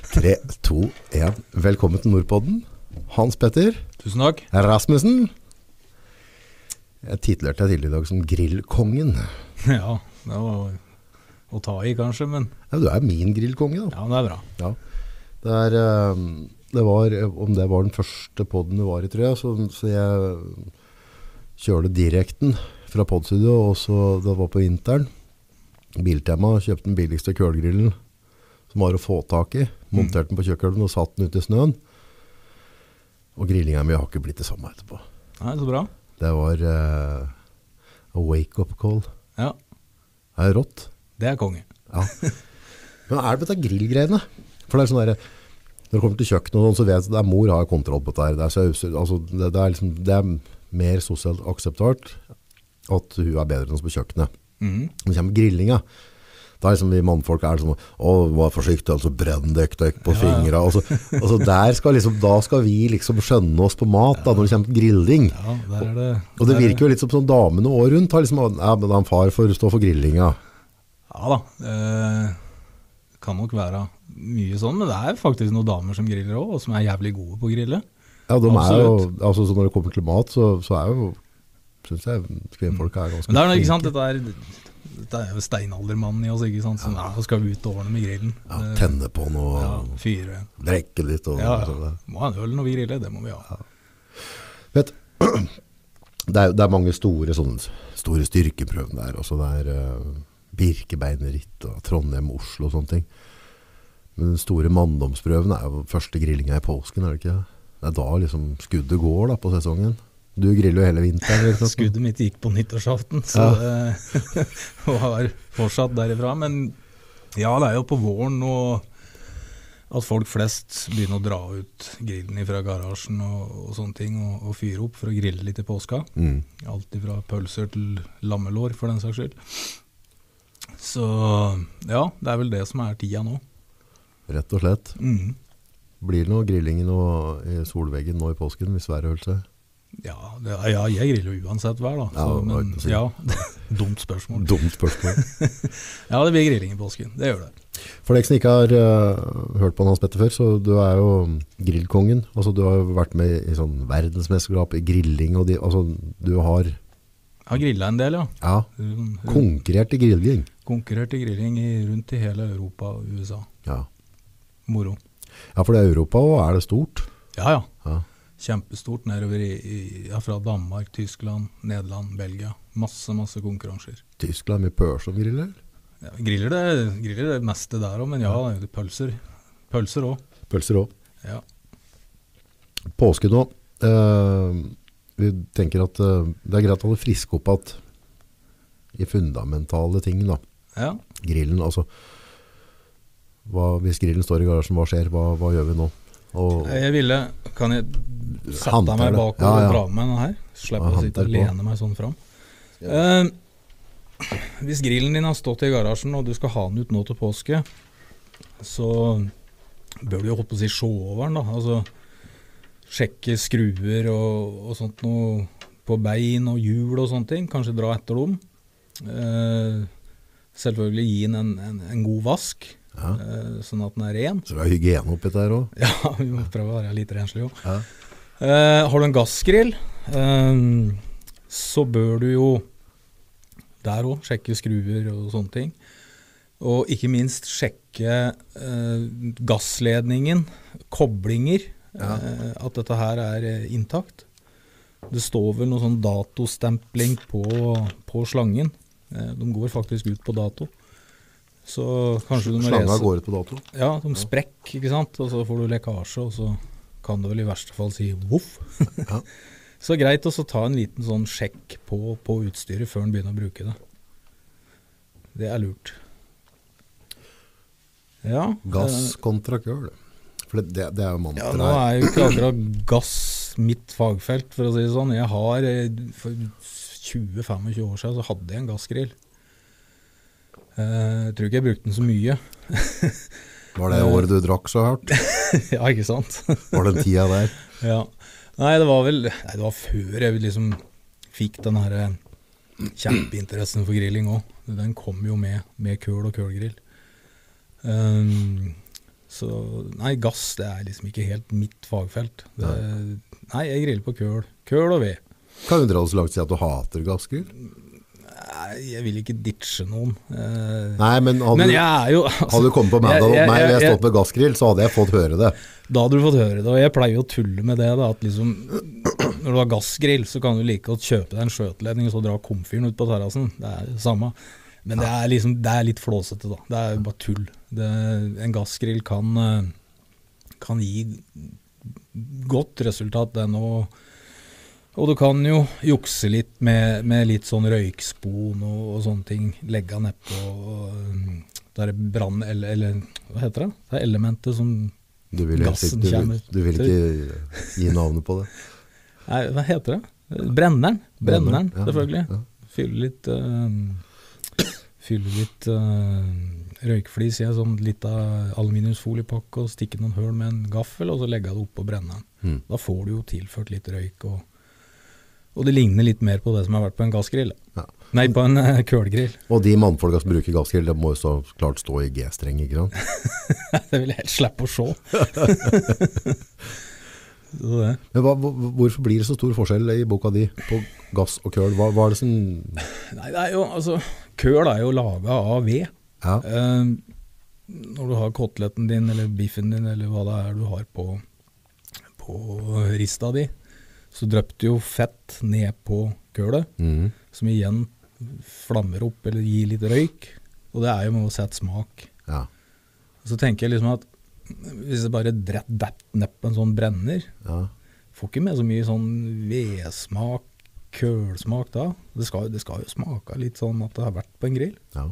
Tre, to, én. Velkommen til Nordpodden. Hans Petter Tusen takk. Rasmussen. Jeg titlerte deg tidligere i dag som Grillkongen. Ja, det var å ta i kanskje, men Ja, du er min grillkonge, da. ja, det er bra. Ja. Det, er, eh, det var, om det var den første podden du var i, tror jeg, så, så jeg kjørte direkten fra podstudio, og så det var på vinteren. Biltema kjøpte den billigste kølgrillen som var å få tak i. Monterte den på kjøkkenet og satt den ute i snøen. Og grillinga mi har ikke blitt det samme etterpå. Nei, så bra. Det var eh, a wake-up call. Ja, Det er rått. det er konge. Ja. Men hva er det på dette grillgreiene? For det er sånn der, når det kommer til kjøkken og sånn, så vet jeg at det er mor har kontroll på dette her. Det er, sauser, altså, det, det er, liksom, det er mer sosialt akseptert at hun er bedre enn oss på kjøkkenet. Mhm. Når det kommer til grillinga, da er liksom vi mannfolk er sånn, å, vær forsiktig, altså brenn dekk dekk på fingrene. Og så, og så der skal liksom, da skal vi liksom skjønne oss på mat da, når det kommer til grilling. Ja, der er det Og det der er- virker jo litt som sånn damene året rundt, har liksom, ja, men han far får stå for grillinga. Ja da. Eh, kan nok være mye sånn, men det er faktisk noen damer som griller òg, og som er jævlig gode på å grille. Ja, de er jo, Absolutt. altså så når det kommer til mat, så, så er jo, synes jeg, kvinnfolk er ganske Men det er noe, ikke flinke. sant, dette er, dette er jo steinaldermannen i oss, ikke sant, som ja, skal ut og ordne med grillen. Ja, Det- tenne på noe, ja, fyre. drekke litt og, Ja, og sånn ja. der. Må ha en øl når vi griller, det må vi ha. Vet, det er, det er mange store, sånne, store styrkeprøven der, også det er eh, Birkebeineritt og Trondheim, Oslo og sånne ting. Men den store manndomsprøven er jo første grillinga i påsken, er det ikke? det? Det er da liksom skuddet går da på sesongen. Du griller jo hele vinteren. ikke sant? Skuddet mitt gikk på nyttårsaften, så det og har fortsatt derifra. Men ja, det er jo på våren nå at folk flest begynner å dra ut grillen fra garasjen og, og sånne ting, og, og fyre opp for å grille litt i påska. Mm. Alt fra pølser til lammelår, for den saks skyld. Så ja, det er vel det som er tida nå. Rett og slett. Mhm. Blir det noe grilling nå i solveggen nå i påsken hvis været holder seg? Ja, det, ja, jeg griller jo uansett hver, da. Så, Ja, det var men, ikke så- ja, dumt spørsmål. Dumt spørsmål. Ja, det blir grilling i påsken. Det gjør det. For deg som ikke har eh, hørt på Hans Petter før, så du er jo grillkongen. Altså, du har jo vært med i sånn verdensmesterskap i grilling, og de, altså, du har Jeg har grilla en del, ja. ja, Hun- hun konkurrert i grilling. Konkurrerte grilling i, rundt i hele Europa og USA. Ja. Moro. ja, for det er Europa, og er det stort? Ja ja. Ja. Kjempestort nedover i, i ja, fra Danmark, Tyskland, Nederland, Belgia. Masse, masse konkurranser. Tyskland er mye pøl som griller. Ja, griller, det, griller det meste der òg, men ja, det er pølser. Pølser òg. Pølser òg. Ja. Påske nå. eh, vi tenker at eh, det er greit å holde friske opp at i fundamentale ting, da. ja. grillen, altså hva, Hvis grillen står i garasjen, hva skjer? Hva, hva gjør vi nå? Og, Jeg ville Kan jeg sette Håndter meg det. bakover Ja, ja. og dra med meg den her? Slipp Ja, å sitte håndter på. og lene meg sånn fram. Eh, hvis grillen din har stått i garasjen og du skal ha den ut nå til påske, så bør du jo holdt på å si se over den, da. Altså sjekke skruer og, og sånt noe på bein og hjul og sånne ting. Kanskje dra etter dem. Eh, selvfølgelig gi den en, en, en god vask, ja. eh, sånn at den er ren. Så det er hygiene oppi der òg. Ja, vi må prøve å være litt renslige òg. Ja. Eh, har du en gassgrill, eh, så bør du jo der òg sjekke skruer og sånne ting. Og ikke minst sjekke eh, gassledningen, koblinger, Ja. eh, at dette her er eh, intakt. Det står vel noe sånn datostempling på, på slangen. Eh, de går faktisk ut på dato. Så kanskje du må Slanga lese går ut på dato. ja, de sprekk, ikke sant? Og så får du lekkasje, og så kan du vel i verste fall si voff. Ja. så greit å så ta en liten sånn sjekk på, på utstyret før en begynner å bruke det. Det er lurt. Ja. Gass kontra køl. For det, det, det er jo eh, Ja, mantraet. nå er jo ikke akkurat gass mitt fagfelt, for å si det sånn. Jeg har eh, For 20-25 år siden så hadde jeg en gassgrill. Eh, Jeg tror ikke jeg brukte den så mye. Var det året du drakk så hardt? ja, ikke sant? Var den tida der? Ja. Nei, det var vel nei, det var før jeg liksom fikk den her eh, kjempeinteressen for grilling òg. Den kom jo med, med køl og kølgrill. Ehm, Så nei, gass det er liksom ikke helt mitt fagfelt. Det, nei, jeg griller på køl. Køl og ved. Kan jo dra det så langt å si at du hater gassgrill. Nei, jeg vil ikke ditche noen. Eh, Nei, men hadde, men du- jeg er jo altså, hadde du kommet på mandag jeg- mot jeg- meg og jeg jeg- stått med gassgrill, så hadde jeg fått høre det. Da hadde du fått høre det. Og jeg pleier jo å tulle med det. da, at liksom, Når du har gassgrill, så kan du like godt kjøpe deg en skjøteledning og så dra komfyren ut på terrassen. Det er det samme. Men det er, liksom, det er litt flåsete, da. Det er bare tull. Det, en gassgrill kan, eh, kan gi godt resultat, den òg. Og du kan jo jukse litt med, med litt sånn røykspon og, og sånne ting. Legge nedpå um, det er brann... Eller, eller hva heter det? Det er elementet som Du vil, helst Gassen ikke- du, vil- kommer du vil ikke gi navnet på det. Nei, hva heter det? Brenneren. Brenneren, Ja, selvfølgelig. ja. Fylle litt eh, Fylle litt eh, røykflis i en sånn lita aluminiumsfoliepakke og stikke noen høl med en gaffel, og så legge det oppå brenneren. Mm. Da får du jo tilført litt røyk, og, og det ligner litt mer på det som har vært på en gassgrill. Ja. Nei, på en eh, kølgrill. Og de mannfolka som bruker gassgrill, det må jo så klart stå i G-streng, ikke sant? det vil jeg helt slippe å se. så det. Men hva, hvor- hvorfor blir det så stor forskjell i boka di på gass og køl? Hva, hva er det som Nei, det er jo altså Køl er jo laga av ved. ja, Eh, når du har koteletten din eller biffen din eller hva det er du har på, på rista di, så drypper du jo fett ned på kølet, mm, som igjen flammer opp eller gir litt røyk. Og det er jo med å sette smak. ja, Så tenker jeg liksom at hvis det bare detter nedpå en sånn brenner, ja, får ikke med så mye sånn vedsmak, kølsmak da. Det skal, det skal jo smake litt sånn at det har vært på en grill. ja.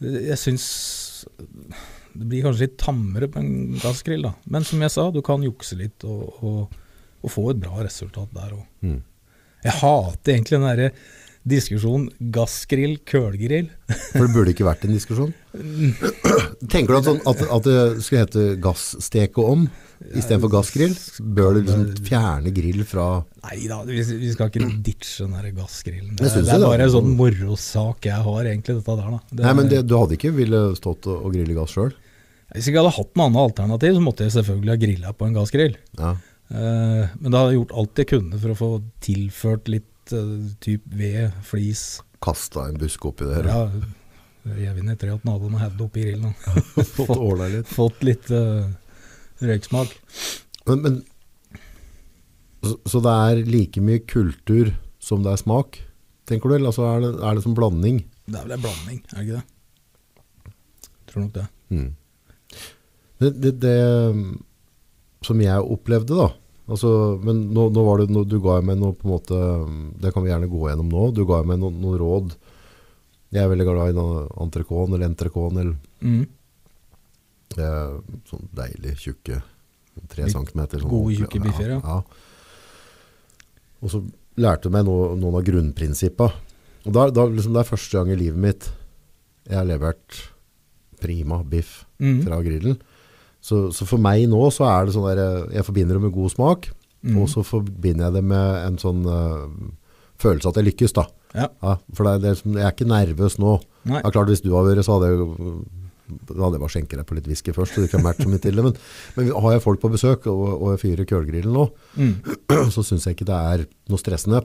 Jeg syns det blir kanskje litt tammere på en gassgrill, da. Men som jeg sa, du kan jukse litt og, og, og få et bra resultat der òg. Mm. Jeg hater egentlig den derre diskusjonen gassgrill, kølgrill. For det burde ikke vært en diskusjon. Tenker du at, sånn, at, at det skulle hete gasssteke om istedenfor gassgrill? Bør du liksom fjerne grill fra Nei da, vi, vi skal ikke ditche den der gassgrillen. Det, Jeg synes det er det, da. bare en sånn morosak jeg har, egentlig, dette der, da. Det- Nei, men det, du hadde ikke ville stått og, og grille gass sjøl? Hvis jeg ikke hadde hatt noe annet alternativ, så måtte jeg selvfølgelig ha grilla på en gassgrill. Ja. Eh, men da hadde jeg gjort alt jeg kunne for å få tilført litt eh, typ ved, flis, Kasta en busk oppi det her. Ja, reven i treet hadde noe hevd oppi grillen. da. Fått åla litt. Fått litt eh, røyksmak. Men, men så, så det er like mye kultur som det er smak, tenker du? Eller altså, er, det, er det som blanding? Det er vel en blanding, er det ikke det? Tror nok det. Hmm. Det, det, det um, som jeg opplevde da, altså, men nå, nå var det, noe- du ga meg noe på en måte, um, det kan vi gjerne gå gjennom nå, du ga meg noen noen råd. Jeg er veldig glad i noe entrecôte eller entrecôte eller Mm. eh, sånn deilig tjukke, tre Litt centimeter. Sånn, gode, ordentlig. tjukke biffer, ja. ja. Og så lærte du meg noe, noen av grunnprinsippene. Og da, da, liksom, det er første gang i livet mitt jeg har levert prima biff Mm. fra grillen. Så, så for meg nå så er det sånn der, eh, jeg forbinder det med god smak, Mm. og så forbinder jeg det med en sånn eh, følelse at jeg lykkes da. Ja. Ja, for det, er- det er, liksom- jeg er ikke nervøs nå. Nei. Ja, klart, hvis du hadde vært, så hadde jeg, jo- da hadde jeg bare skjenket deg på litt whisky først, så det kan matche mitt til det. Men, men har jeg folk på besøk, og, og jeg fyrer kølgrillen nå, Mm. så syns jeg ikke det er noe stressende.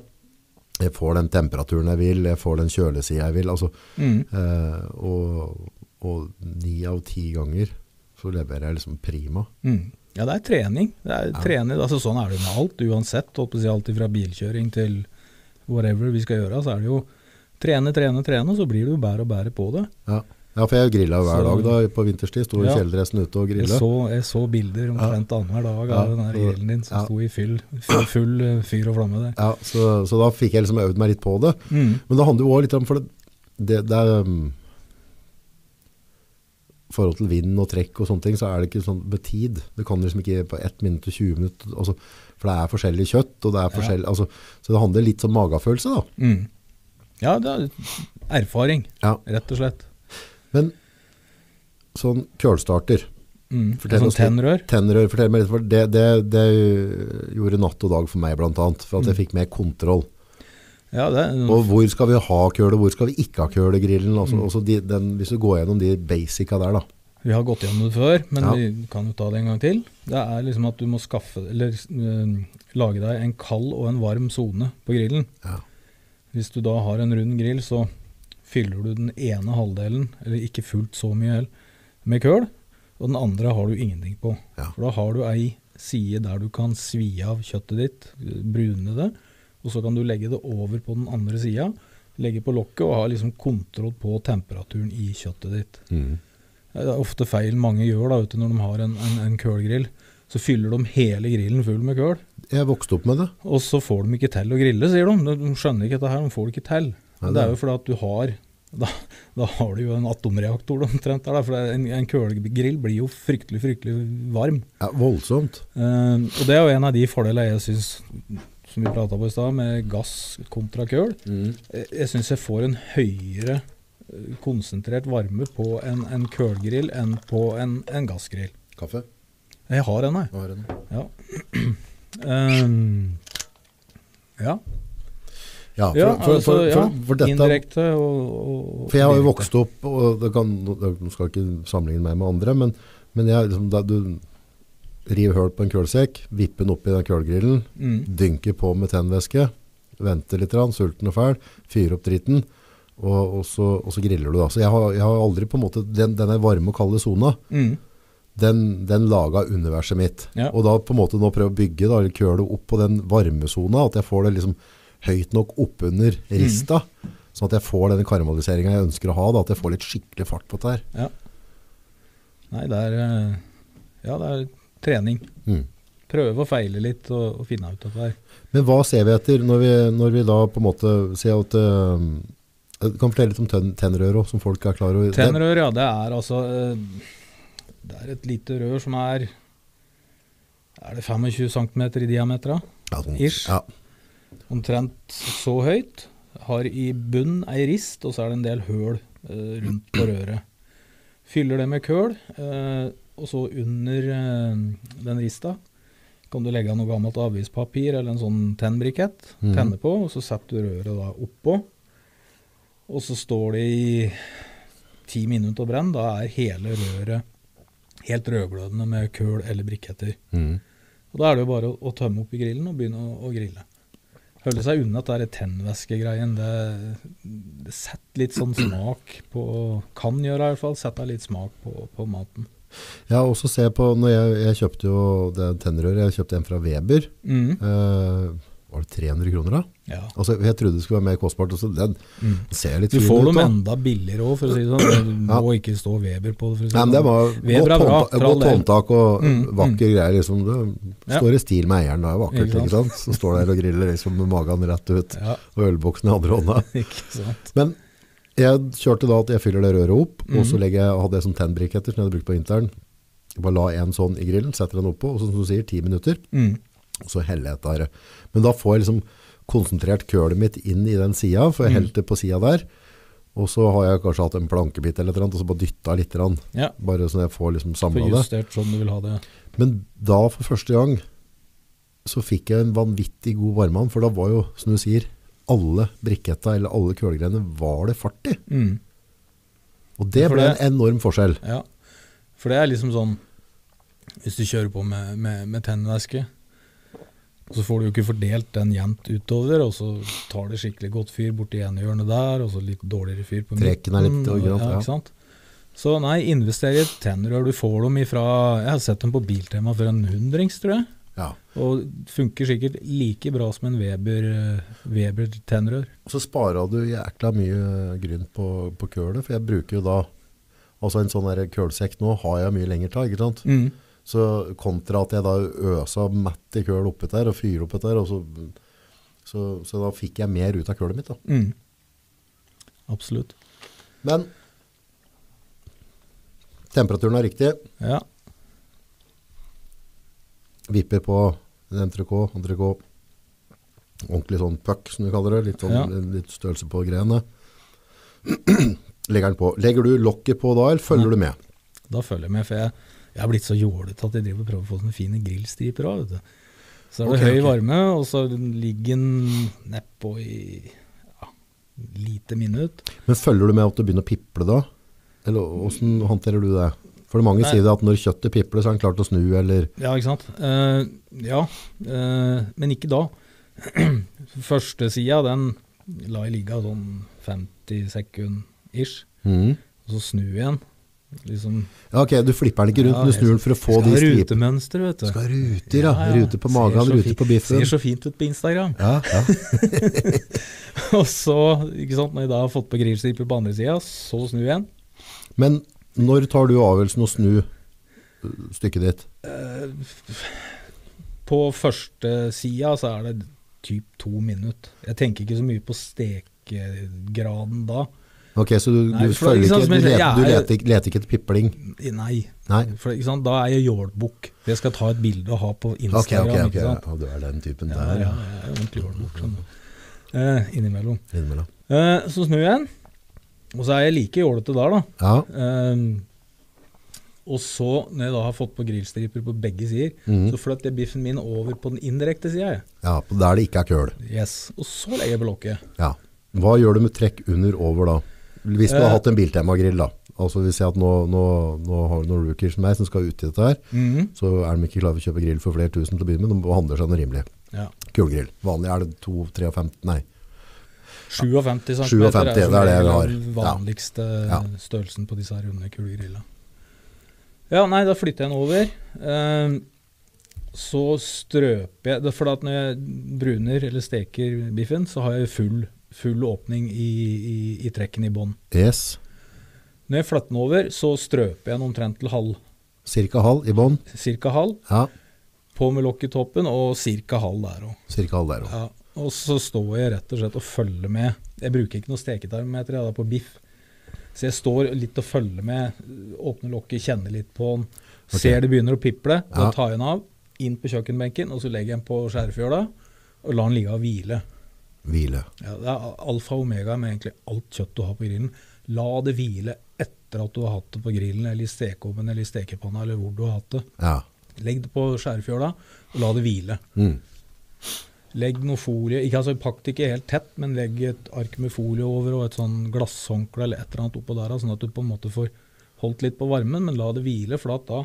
Jeg får den temperaturen jeg vil, jeg får den kjølesida jeg vil. altså... Mm. Eh, og, og ni av ti ganger så leverer jeg liksom prima. Mm. Ja, det er trening. Det er trening. Altså, sånn er det jo med alt, uansett. holdt på å si, Alt fra bilkjøring til whatever vi skal gjøre, så er det jo trene, trene, trene, så blir du jo bedre og bedre på det. Ja, ja for jeg grilla hver Så- dag da på vinterstid. Sto i Ja. kjeledressen ute og Jeg grilla. så, jeg så bilder omtrent annenhver dag av Ja, den der så- grillen din som ja. sto i fyll, full, full eh, fyr og flamme der. Ja, så, så da fikk jeg liksom øvd meg litt på det. Mm. Men det handler jo også litt om For det, det, det er um, forhold til vind og trekk og sånne ting, så er det ikke sånn med tid. Det kan liksom ikke på 1 minutt og 20 minutter, altså, for det er forskjellig kjøtt, og det er Ja. forskjellig, altså, så det handler litt om magefølelse da. Mm. Ja, det er erfaring, Ja, rett og slett. men sånn kølstarter, Mm. Fortell sånn oss litt. tennrør. Tennerør, fortell meg litt, for det, det, det gjorde natt og dag for meg blant annet, for at jeg fikk mer kontroll. Ja, det, Og hvor Mm. skal vi ha køle, hvor skal vi ikke ha kølegrillen, altså, også de, den, hvis du går gjennom de basica der da. Vi har gått gjennom det før, men Ja. vi kan jo ta det en gang til. Det er liksom at du må skaffe, eller eh, lage deg en kald og en varm sone på grillen. Ja. Hvis du da har en rund grill, så fyller du den ene halvdelen, eller ikke fullt så mye heller, med køl, og den andre har du ingenting på. Ja. For da har du ei side der du kan svi av kjøttet ditt, eh, brune det, og så kan du legge det over på den andre sida, legge på lokket og ha liksom kontroll på temperaturen i kjøttet ditt. Mm. Det er ofte feil mange gjør da, vet du, når de har en, en, en kølgrill. Så fyller de hele grillen full med køl, Jeg vokste opp med det. og så får de ikke til å grille, sier de. De skjønner ikke dette her, de får det ikke til. Ja, Men det er jo fordi at du har da, da har du jo en atomreaktor da, omtrent der, da, for det er en, en kølgrill blir jo fryktelig, fryktelig varm. Ja, voldsomt. Eh, og det er jo en av de fordelene jeg syns, som vi prata på i stad, med gass kontra køl. Jeg jeg syns jeg får en høyere eh, konsentrert varme på en, en kølgrill enn på en, en gassgrill. Kaffe? Jeg har en, jeg. Hva har du nå? Ja. Ehm, ja. Ja, for, ja, for, altså, for, ja. for, for dette Indirekte og, og For jeg har jo direkte. vokst opp, og det kan, nå skal jeg ikke sammenligne meg med andre, men, men jeg, liksom, da du river høl på en kølsekk, vipper den oppi den kølgrillen, Mm. dynker på med tennvæske, venter litt, grann, sulten og fæl, fyrer opp dritten, og, og, så, og så griller du da. Så jeg har, jeg har aldri på en måte, den, denne varme og kalde zona, Mm. den, den laga universet mitt. Ja. Og da på en måte nå prøve å bygge da, eller køle opp på den varmesona, at jeg får det liksom høyt nok oppunder Mm. rista, sånn at jeg får den karamelliseringen jeg ønsker å ha, da, at jeg får litt skikkelig fart på dette her. Nei, det er eh, Ja, det er trening. Mm. Prøve og feile litt og, og finne ut av det her. Men hva ser vi etter når vi, når vi da på en måte ser at øhm, Du kan fortelle litt om tenn- tennrøret også, som folk er klar over. Den- Tennrør, ja. Det er altså eh, Det er et lite rør som er Er det 25 cm i diameter? da? ja, sånn, ish. Ja. Omtrent så høyt. Har i bunn ei rist, og så er det en del høl eh, rundt på røret. Fyller det med køl, eh, og så under eh, den rista kan du legge av noe gammelt avispapir eller en sånn tennbrikett. Mhm. Tenne på, og så setter du røret da oppå. Og så står det i ti minutter og brenner. Da er hele røret helt rødglødende med køl eller briketter. Mm. Og Da er det jo bare å, å tømme opp i grillen og begynne å, å grille. Holde seg unna at det er tennvæskegreien. Det, det setter litt sånn smak på Kan gjøre i hvert fall. Sette litt smak på, på maten. Jeg har også sett på når jeg, jeg kjøpte jo det tennrøret, jeg kjøpte en fra Weber. Mm. Eh, var det 300 kroner, da? Ja. Altså, jeg trodde det skulle være mer kostbart. og så den Mm. ser litt Du fin får ut, dem da. enda billigere òg, for å si det sånn. Du Ja. må ikke stå Weber på det. for å si Nei, men det det sånn. var Weber er godt, bra, håndta- for all godt del. håndtak og Mm, vakre greier. Liksom. Det Ja. står i stil med eieren, da. Vakkert, Ikke sant? ikke sant? Som står der og griller liksom, med magen rett ut, Ja, og ølboksen i andre hånda. ikke sant. Men jeg kjørte da at jeg fyller det røret opp, og så Mhm. legger jeg, hadde jeg sånn tennbriketter som jeg hadde brukt på vinteren. Jeg bare la en sånn i grillen, setter den oppå, og så, som du sier, ti minutter, Mm. og så heller jeg etter. Men da får jeg liksom konsentrert kølet mitt inn i den sida, for jeg Mhm. helte på sida der, og så har jeg kanskje hatt en plankebit eller et eller annet, og så bare dytta litt, grann, Ja. bare sånn at jeg får liksom Få samla det. justert sånn du vil ha det. Men da for første gang så fikk jeg en vanvittig god varmevann, for da var jo, som du sier, alle briketta eller alle kølegreiene var det fart i. Mm. Og det Ja, for ble det- en enorm forskjell. Ja, for det er liksom sånn Hvis du kjører på med, med, med tennvæske, så får du jo ikke fordelt den jevnt utover, og så tar det skikkelig godt fyr borti ene hjørnet der, og så litt dårligere fyr på Trekken er litt og- originalt, ja, ja. ikke sant? Så nei, invester i et tennrør. Du får dem ifra Jeg har sett dem på Biltema for en hundrings, tror jeg. Ja. Og funker sikkert like bra som en Weber, eh, Weber tennrør. Og så spara du jækla mye gryn på, på kølet, for jeg bruker jo da Altså en sånn der kølsekk nå har jeg mye lenger til, ikke sant? Mm. Så kontra at jeg da øsa mett i køl oppi der og fyrer oppi der, og så, så, så da fikk jeg mer ut av kølet mitt, da. Mm. Absolutt. Men temperaturen er riktig. Ja. vipper på en entrecôte, entrecôte. Ordentlig sånn puck, som du kaller det. Litt, sånn, Ja. litt størrelse på greiene. Legger den på. Legger du lokket på da, eller følger du med? Da følger jeg med, for jeg, jeg er blitt så jålete at jeg driver og prøver å få sånne fine grillstriper òg, vet du. Så er det Ok, høy ok. varme, og så ligger den nedpå i ja, lite minutt. Men følger du med at du begynner å piple da? Eller åssen håndterer du det? For mange Nei. sier det at når kjøttet pipler, så er den klar til å snu, eller Ja, ikke sant. Eh, ja, eh, men ikke da. Første sida, den la jeg ligge sånn 50 sekund ish, Mhm. og så snu igjen. Liksom, Ja, ok, du flipper den ikke rundt, Ja, men du jeg snur den for å få skal de ha stripene. rutemønster, vet du. Skal ha ruter, ja. Ruter på Ser magen, så ruter fint- på biffen. Ser så fint ut på Instagram. Ja, ja. Og så, ikke sant, når jeg da har fått på grillstriper på andre sida, så snu igjen. Men når tar du avgjørelsen å snu øh, stykket ditt? Eh, På første sida så er det typ to minutter. Jeg tenker ikke så mye på stekegraden da. Ok, så du, Nei, du for følger ikke sant, ikke, som du jeg sier, leter, du jeg er- leter, ikke- leter ikke etter pipling? Nei, Nei? for ikke sant, da er jeg jålbukk. Jeg skal ta et bilde og ha på Ok, Instagram. ok, ok. ikke sant? Ja, du er den typen Ja, der, ja, ja. jeg er ordentlig jålbukk. Sånn. Eh, innimellom. Innimellom. Eh, så snur jeg igjen, og så er jeg like jålete der, da. Ja. Ehm, og så, når jeg da har fått på grillstriper på begge sider, Mhm. så flytter jeg biffen min over på den indirekte sida. ja, der det ikke er køl. Yes. Og så legger jeg på lokket. Ja. Hva gjør du med trekk under over da? Hvis du Eh. har hatt en Biltema-grill da, altså hvis jeg at nå, nå, nå har du noen rookier som meg som skal ut i dette her, så er de ikke klare for å kjøpe grill for flere tusen til å begynne med, de handler seg noe rimelig. ja. Kulgrill. Vanlig er det 2, 3 og 15, nei. 57 cm 57, det er det vi har. den vanligste Ja. størrelsen på disse her runde kulegrilla. Ja, nei, da flytter jeg den over. Ehm, så strøper jeg det er For at når jeg bruner eller steker biffen, så har jeg full, full åpning i, i, i trekken i bånn. Yes. Når jeg flytter den over, så strøper jeg den omtrent til halv. Cirka halv i bånd. Cirka halv. Ja, På med lokk i toppen og cirka halv der òg. cirka halv der også. Ja, og så står jeg rett og slett og følger med. Jeg bruker ikke noe steketermometer jeg er da på biff. Så jeg står litt og følger med, åpner lokket, kjenner litt på den. Ok. Ser det begynner å piple, da Ja. tar jeg den av, inn på kjøkkenbenken, og så legger jeg den på skjærefjøla og lar den ligge og hvile. Hvile. Ja, det er alfa og omega med egentlig alt kjøtt du har på grillen. La det hvile etter at du har hatt det på grillen eller i stekeovnen eller i stekepanna eller hvor du har hatt det. Ja. Legg det på skjærefjøla og la det hvile. Mm. Legg noe folie, ikke, altså, pakk det ikke helt tett, men legg et ark med folie over og et sånn glasshåndkle eller et eller annet oppå der, da, sånn at du på en måte får holdt litt på varmen, men la det hvile, for at da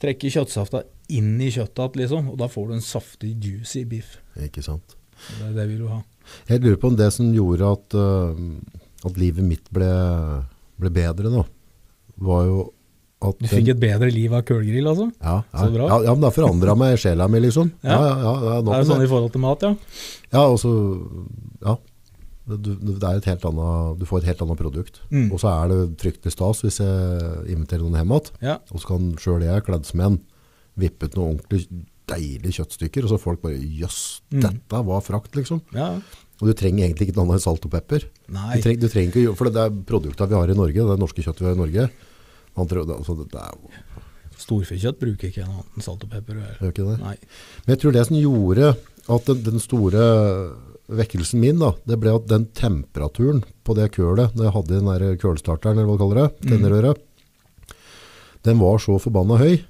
trekker kjøttsafta inn i kjøttet igjen, liksom, og da får du en saftig, juicy biff. Ikke sant. Det er det vi vil ha. Jeg lurer på om det som gjorde at, øh, at livet mitt ble, ble bedre nå, var jo at Du fikk et bedre liv av kølgrill, altså? Ja, ja. Så bra. ja, ja men det har forandra meg i sjela mi, liksom. Ja, Ja. ja, ja, ja, nå Det er jo kan sånn jeg- i forhold til mat, ja. ja, altså, ja. Du, du- det er jo et helt annet, du får et helt annet produkt. Mm. Og så er det fryktelig stas hvis jeg inviterer noen hjem igjen, Ja, og så kan sjøl jeg, kledd som en, vippe ut noen ordentlig deilige kjøttstykker, og så folk bare Jøss, Mm. dette var frakt, liksom. ja. Og du trenger egentlig ikke noe annet enn salt og pepper. Nei. Du trenger, du trenger ikke, å gjøre- for det er produkter vi har i Norge, det er norske kjøtt vi har i Norge. Man tror, altså, det er Storfekjøtt bruker ikke noe annet enn salt og pepper. og- det er jo ikke det. Nei. Men jeg tror det som gjorde at den, den store vekkelsen min, da, det ble at den temperaturen på det kølet, når jeg hadde den der kølstarteren, eller hva du kaller det, tennerøret, den var så forbanna høy.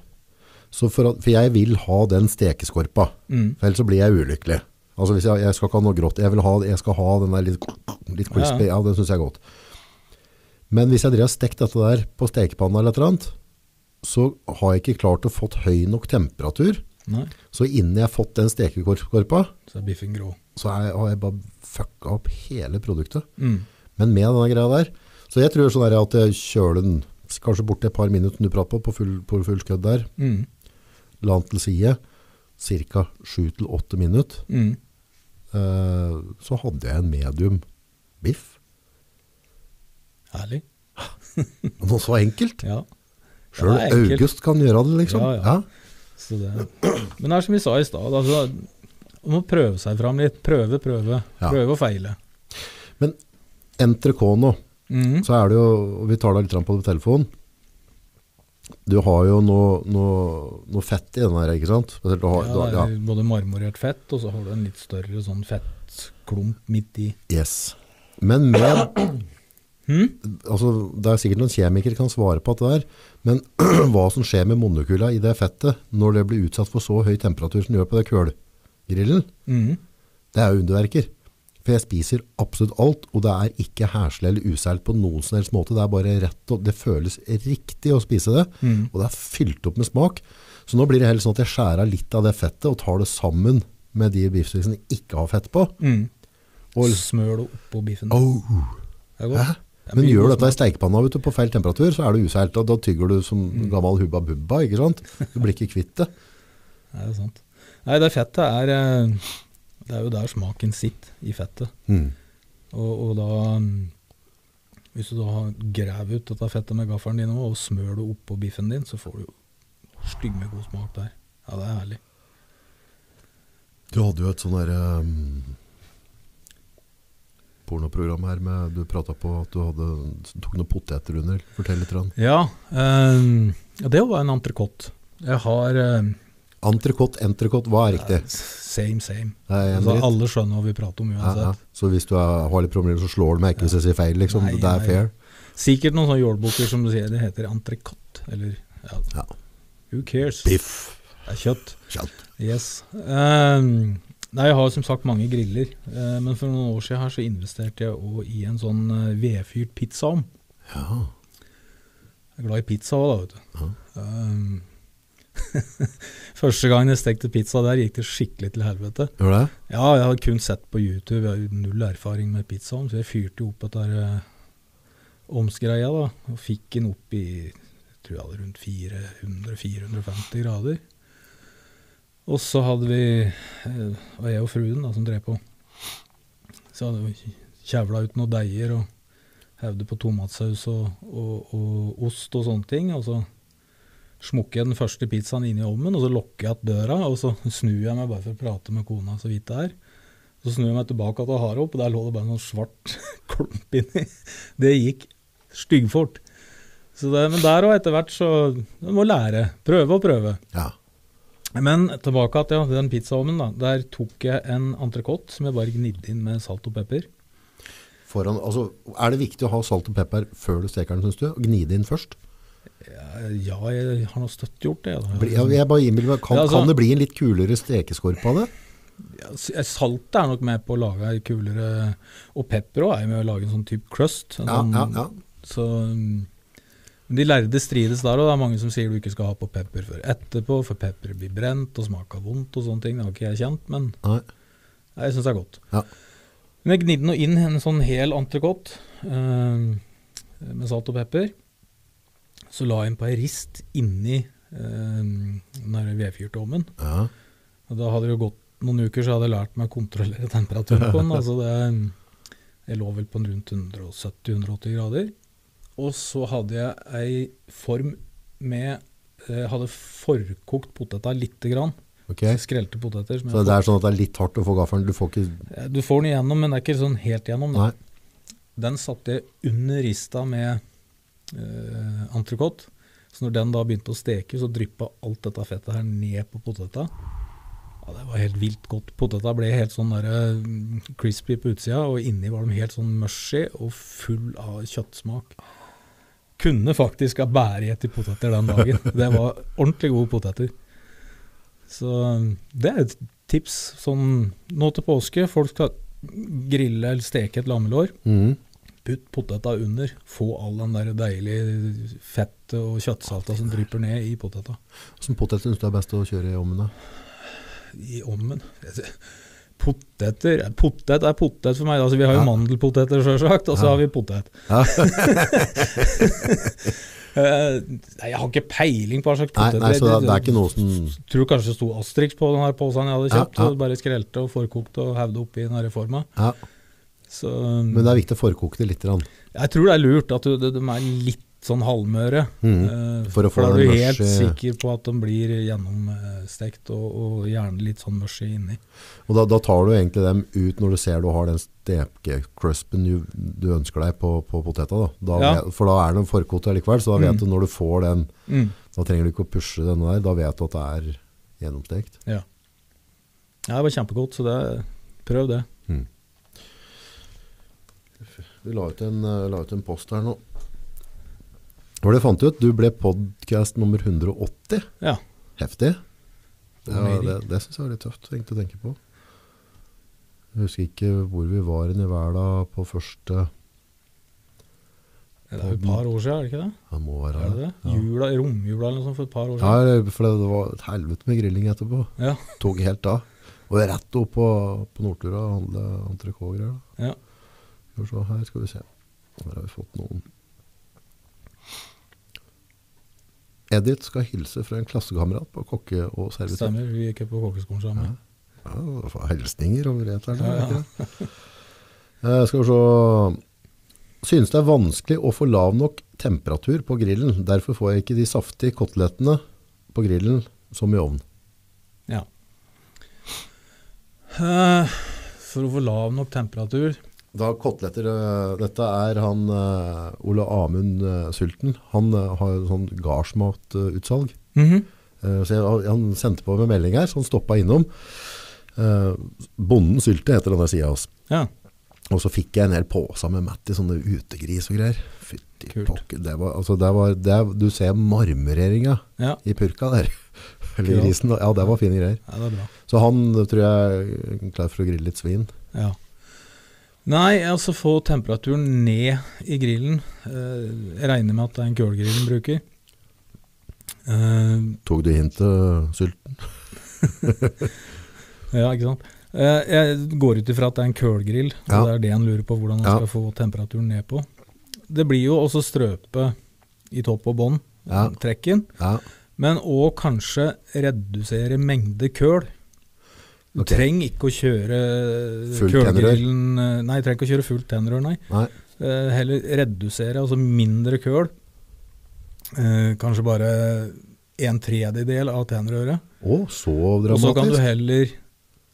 Så for, at, for jeg vil ha den stekeskorpa, Mm. for ellers så blir jeg ulykkelig. Altså hvis jeg, jeg skal ikke ha noe grått, jeg, vil ha, jeg skal ha den der litt, litt crispy, ja, den synes jeg er godt. Men hvis jeg drev og stekte dette der på stekepanna eller et eller annet, så har jeg ikke klart å fått høy nok temperatur, Nei. så innen jeg har fått den stekekorpa, Så er biffen grå. så er, har jeg bare fucka opp hele produktet. Mm. Men med denne greia der. Så jeg tror sånn er det at jeg kjøler den kanskje bort til et par minutter du prater på, på full, på full skudd der. Mm. La den til side. Cirka 7-8 minutter. Mm. Eh, så hadde jeg en medium biff. Herlig. Noe så enkelt. Ja. Sjøl det er enkelt. August kan gjøre det, liksom. Ja, ja. Så det. Men det er som vi sa i stad, altså, man må prøve seg fram litt. Prøve, prøve. Ja. Prøve og feile. NTRK nå. Mhm. så er det jo, og vi tar deg litt grann på telefonen, du har jo noe, noe, noe fett i den her, ikke sant? Spesielt Du har, ja, du det har, er ja. jo både marmorert fett, og så har du en litt større sånn fettklump midt i. Yes. Men med Hm? altså, Det er sikkert noen kjemikere kan svare på at det er, men hva som skjer med monokula i det fettet når det blir utsatt for så høy temperatur som det gjør på det kølgrillen, Mhm. det er jo underverker. For For jeg spiser absolutt alt, og det er ikke herselig eller useilt på noen som helst måte. Det er bare rett og det føles riktig å spise det, Mm. og det er fylt opp med smak. Så nå blir det heller sånn at jeg skjærer av litt av det fettet og tar det sammen med de biffstykkene jeg ikke har fett på. Mm. Og, Smør det oppå biffen. oh, Det hæ? er godt. Det er Men mye gjør du god dette i stekepanna vet du, på feil temperatur, så er det useilt. Og da tygger du som Mm. gammel hubba bubba, ikke sant? Du blir ikke kvitt det. smak. Nei, det er sant. Nei, det fettet er eh, Det er jo der smaken sitter, i fettet. Mm. Og, og da mm, Hvis du da har grav ut dette fettet med gaffelen din også, og smør det oppå biffen din, så får du jo styggmegod smak der. Ja, det er herlig. Du hadde jo et sånn der ehm, pornoprogram her med Du prata på at du hadde, tok noen poteter under. Fortell litt. Rann. Ja, eh, ja, det var en entrecôte. Jeg har eh, Entrecôte, entrecôte, hva er riktig? Same, same. Det er en Altså, dritt. alle skjønner hva vi prater om ja, ja. uansett. Så hvis du er, har litt problemer, så slår du meg ikke hvis jeg sier feil, liksom. Nei, det nei. er fair. Sikkert noen sånne jålbukker som du sier, det heter entrecôte, eller ja. Ja. Who cares? Det Biff. er kjøtt. Kjent. Yes. Ehm, nei, jeg har som sagt mange griller, eh, men for noen år siden her så investerte jeg også i en sånn eh, vedfyrt pizzaovn. Ja. Jeg er glad i pizza òg, da, vet du. Ja. Ehm, Første gang jeg stekte pizza der, gikk det skikkelig til helvete. Gjør det? Ja, jeg har kun sett på YouTube, jeg har jo null erfaring med pizzaovn, så jeg fyrte jo opp dette her eh, omsgreia, da, og fikk den opp i jeg tror jeg hadde rundt 400-450 grader. Og så hadde vi eh, det var jeg og fruen da, som drev på. Så hadde vi kjevla ut noen deiger og hevde på tomatsaus og, og, og ost og sånne ting. Og så smukker jeg den første pizzaen inn i ovnen, og så lukker jeg igjen døra. Og så snur jeg meg bare for å prate med kona så vidt det er. Så snur jeg meg tilbake til Harold, og der lå det bare noen svart klump inni. Det gikk styggfort. Så det, men der og etter hvert så Du må lære. Prøve og prøve. Ja. Men tilbake til den pizzaovnen. da. Der tok jeg en entrecôte som jeg bare gnidde inn med salt og pepper. Foran, altså, er det viktig å ha salt og pepper før du steker den, syns du? Og gni det inn først? Ja, ja, jeg har nå støtt gjort det. Da. Bli, jeg, jeg bare innbiller meg, kan, Ja, altså- kan det bli en litt kulere stekeskorp av det? Ja, s- eh, Saltet er nok med på å lage ei kulere Og pepper òg er jo med å lage en sånn type crust. En Ja, sånn, ja, ja. Så mm, men De lærde strides der, og det er mange som sier du ikke skal ha på pepper før etterpå, for pepper blir brent og smaker vondt og sånne ting. Det har ikke jeg kjent, men Nei. Nei, Jeg syns det er godt. Ja. Men jeg gnidde nå inn en sånn hel entrecôte eh, med salt og pepper. Så la jeg inn på ei rist inni uh, den her vedfyrte ovnen. Ja. Og da hadde det jo gått noen uker, så hadde jeg lært meg å kontrollere temperaturen på den. altså det, Jeg lå vel på rundt 170-180 grader. Og så hadde jeg ei form med Jeg hadde forkokt poteta lite grann. Ok. Skrelte poteter. Som Så jeg det er sånn at det er litt hardt å få gaffelen. Du får ikke Eh, Du får den igjennom, men det er ikke sånn helt igjennom. Da. Nei. Den satte jeg under rista med uh, entrecôte. Så når den da begynte å steke, så dryppa alt dette fettet her ned på poteta. Ja, det var helt vilt godt. Poteta ble helt sånn der, mm, crispy på utsida, og inni var de helt sånn mushy og full av kjøttsmak. Kunne faktisk ha bæret i poteter den dagen. Det var ordentlig gode poteter. Så eh, det er et tips sånn nå til påske. Folk skal grille eller steke et lammelår. Mhm. Putt poteta under. Få all den der deilige fettet og kjøttsalta som drypper ned i poteta. Hvilken potet syns du er best å kjøre i ovnen? da? I ommen. Poteter Potet er potet for meg. Altså, vi har jo Ja. mandelpoteter, sjølsagt, og så Ja. har vi potet. Eh, nei, jeg har ikke peiling på hva slags Nei, poteter nei, så det, det er ikke noe som Tror kanskje det sto Astrix på den her posen jeg hadde Ja, kjøpt. ja. og Bare skrelte og forkokte og hevde oppi den her forma. ja. Så Men det er viktig å forkoke det litt. grann. jeg tror det er lurt at du, de, de er litt sånn halvmøre. Mhm. eh, For å få da er den du mushy- helt sikker på at de blir gjennomstekt, og, og gjerne litt sånn mushy inni. Og da, da tar du egentlig dem ut når du ser du har den stekecruspen du, du ønsker deg på, på poteta. Da. Da Ja. vet, for da er den forkokt likevel, så da vet Mm. du når du får den Mm. Da trenger du ikke å pushe denne der, da vet du at det er gjennomstekt. Ja. ja. Det var kjempegodt, så det, prøv det. Vi la ut en, eh, la ut en post her nå. Hva var det jeg fant ut? Du ble podcast nummer 180. Ja. Heftig. Det, var, Meieri. det, det synes jeg var litt tøft egentlig, å tenke på. Jeg husker ikke hvor vi var hen i verden på første Det er jo et par år siden, er det ikke det? Det må være Er det det? Ja. Jula, Romjula eller noe sånt for et par år Ja, siden. for det var et helvete med grilling etterpå. Ja. Tok helt av. Og rett opp på, på Nordtura og handle entrecôte-greier. da. Ja. Skal vi se, Her skal vi se. Her har vi fått noen. Edith skal hilse fra en klassekamerat på kokke- og servitør. Stemmer, vi gikk på kokkeskolen sammen. Ja, det var Hilsninger over eteren. Ja, ja. Eh, skal vi se Synes det er vanskelig å få lav nok temperatur på grillen. Derfor får jeg ikke de saftige kotelettene på grillen som i ovnen. Ja. Eh, For å få lav nok temperatur Da koteletter eh, Dette er han eh, Ole Amund eh, Sulten. Han eh, har jo sånn gardsmatutsalg. Eh, Så jeg, han sendte på med melding her, så han stoppa innom. Eh, Bonden Sylte heter denne sida hans. Ja. Og så fikk jeg en hel påse med Matti, sånne utegris og greier. Fytti Kult. pokker. Det var, altså det var, det, du ser marmoreringa ja. i purka der. Eller Kult. grisen. Ja, det var fine greier. Ja, det er bra. Så han tror jeg er klar for å grille litt svin. Ja. Nei, altså få temperaturen ned i grillen. Eh, Jeg regner med at det er en kullgrill den bruker. Eh, Tok du hintet, Sylt? Ja, ikke sant. Eh, Jeg går ut ifra at det er en kullgrill, og Ja. det er det han lurer på hvordan han Ja. skal få temperaturen ned på. Det blir jo også strøpe i topp og bånn, Ja. trekken, Ja. men òg kanskje redusere mengde køl. Du Ok. trenger ikke å kjøre Fullt kullgrillen eh, Nei, trenger ikke å kjøre fullt tennerør, nei. Nei. Eh, heller redusere, altså mindre køl. Eh, kanskje bare en tredjedel av tennerøret. Å, så Og så kan du dramatisk. heller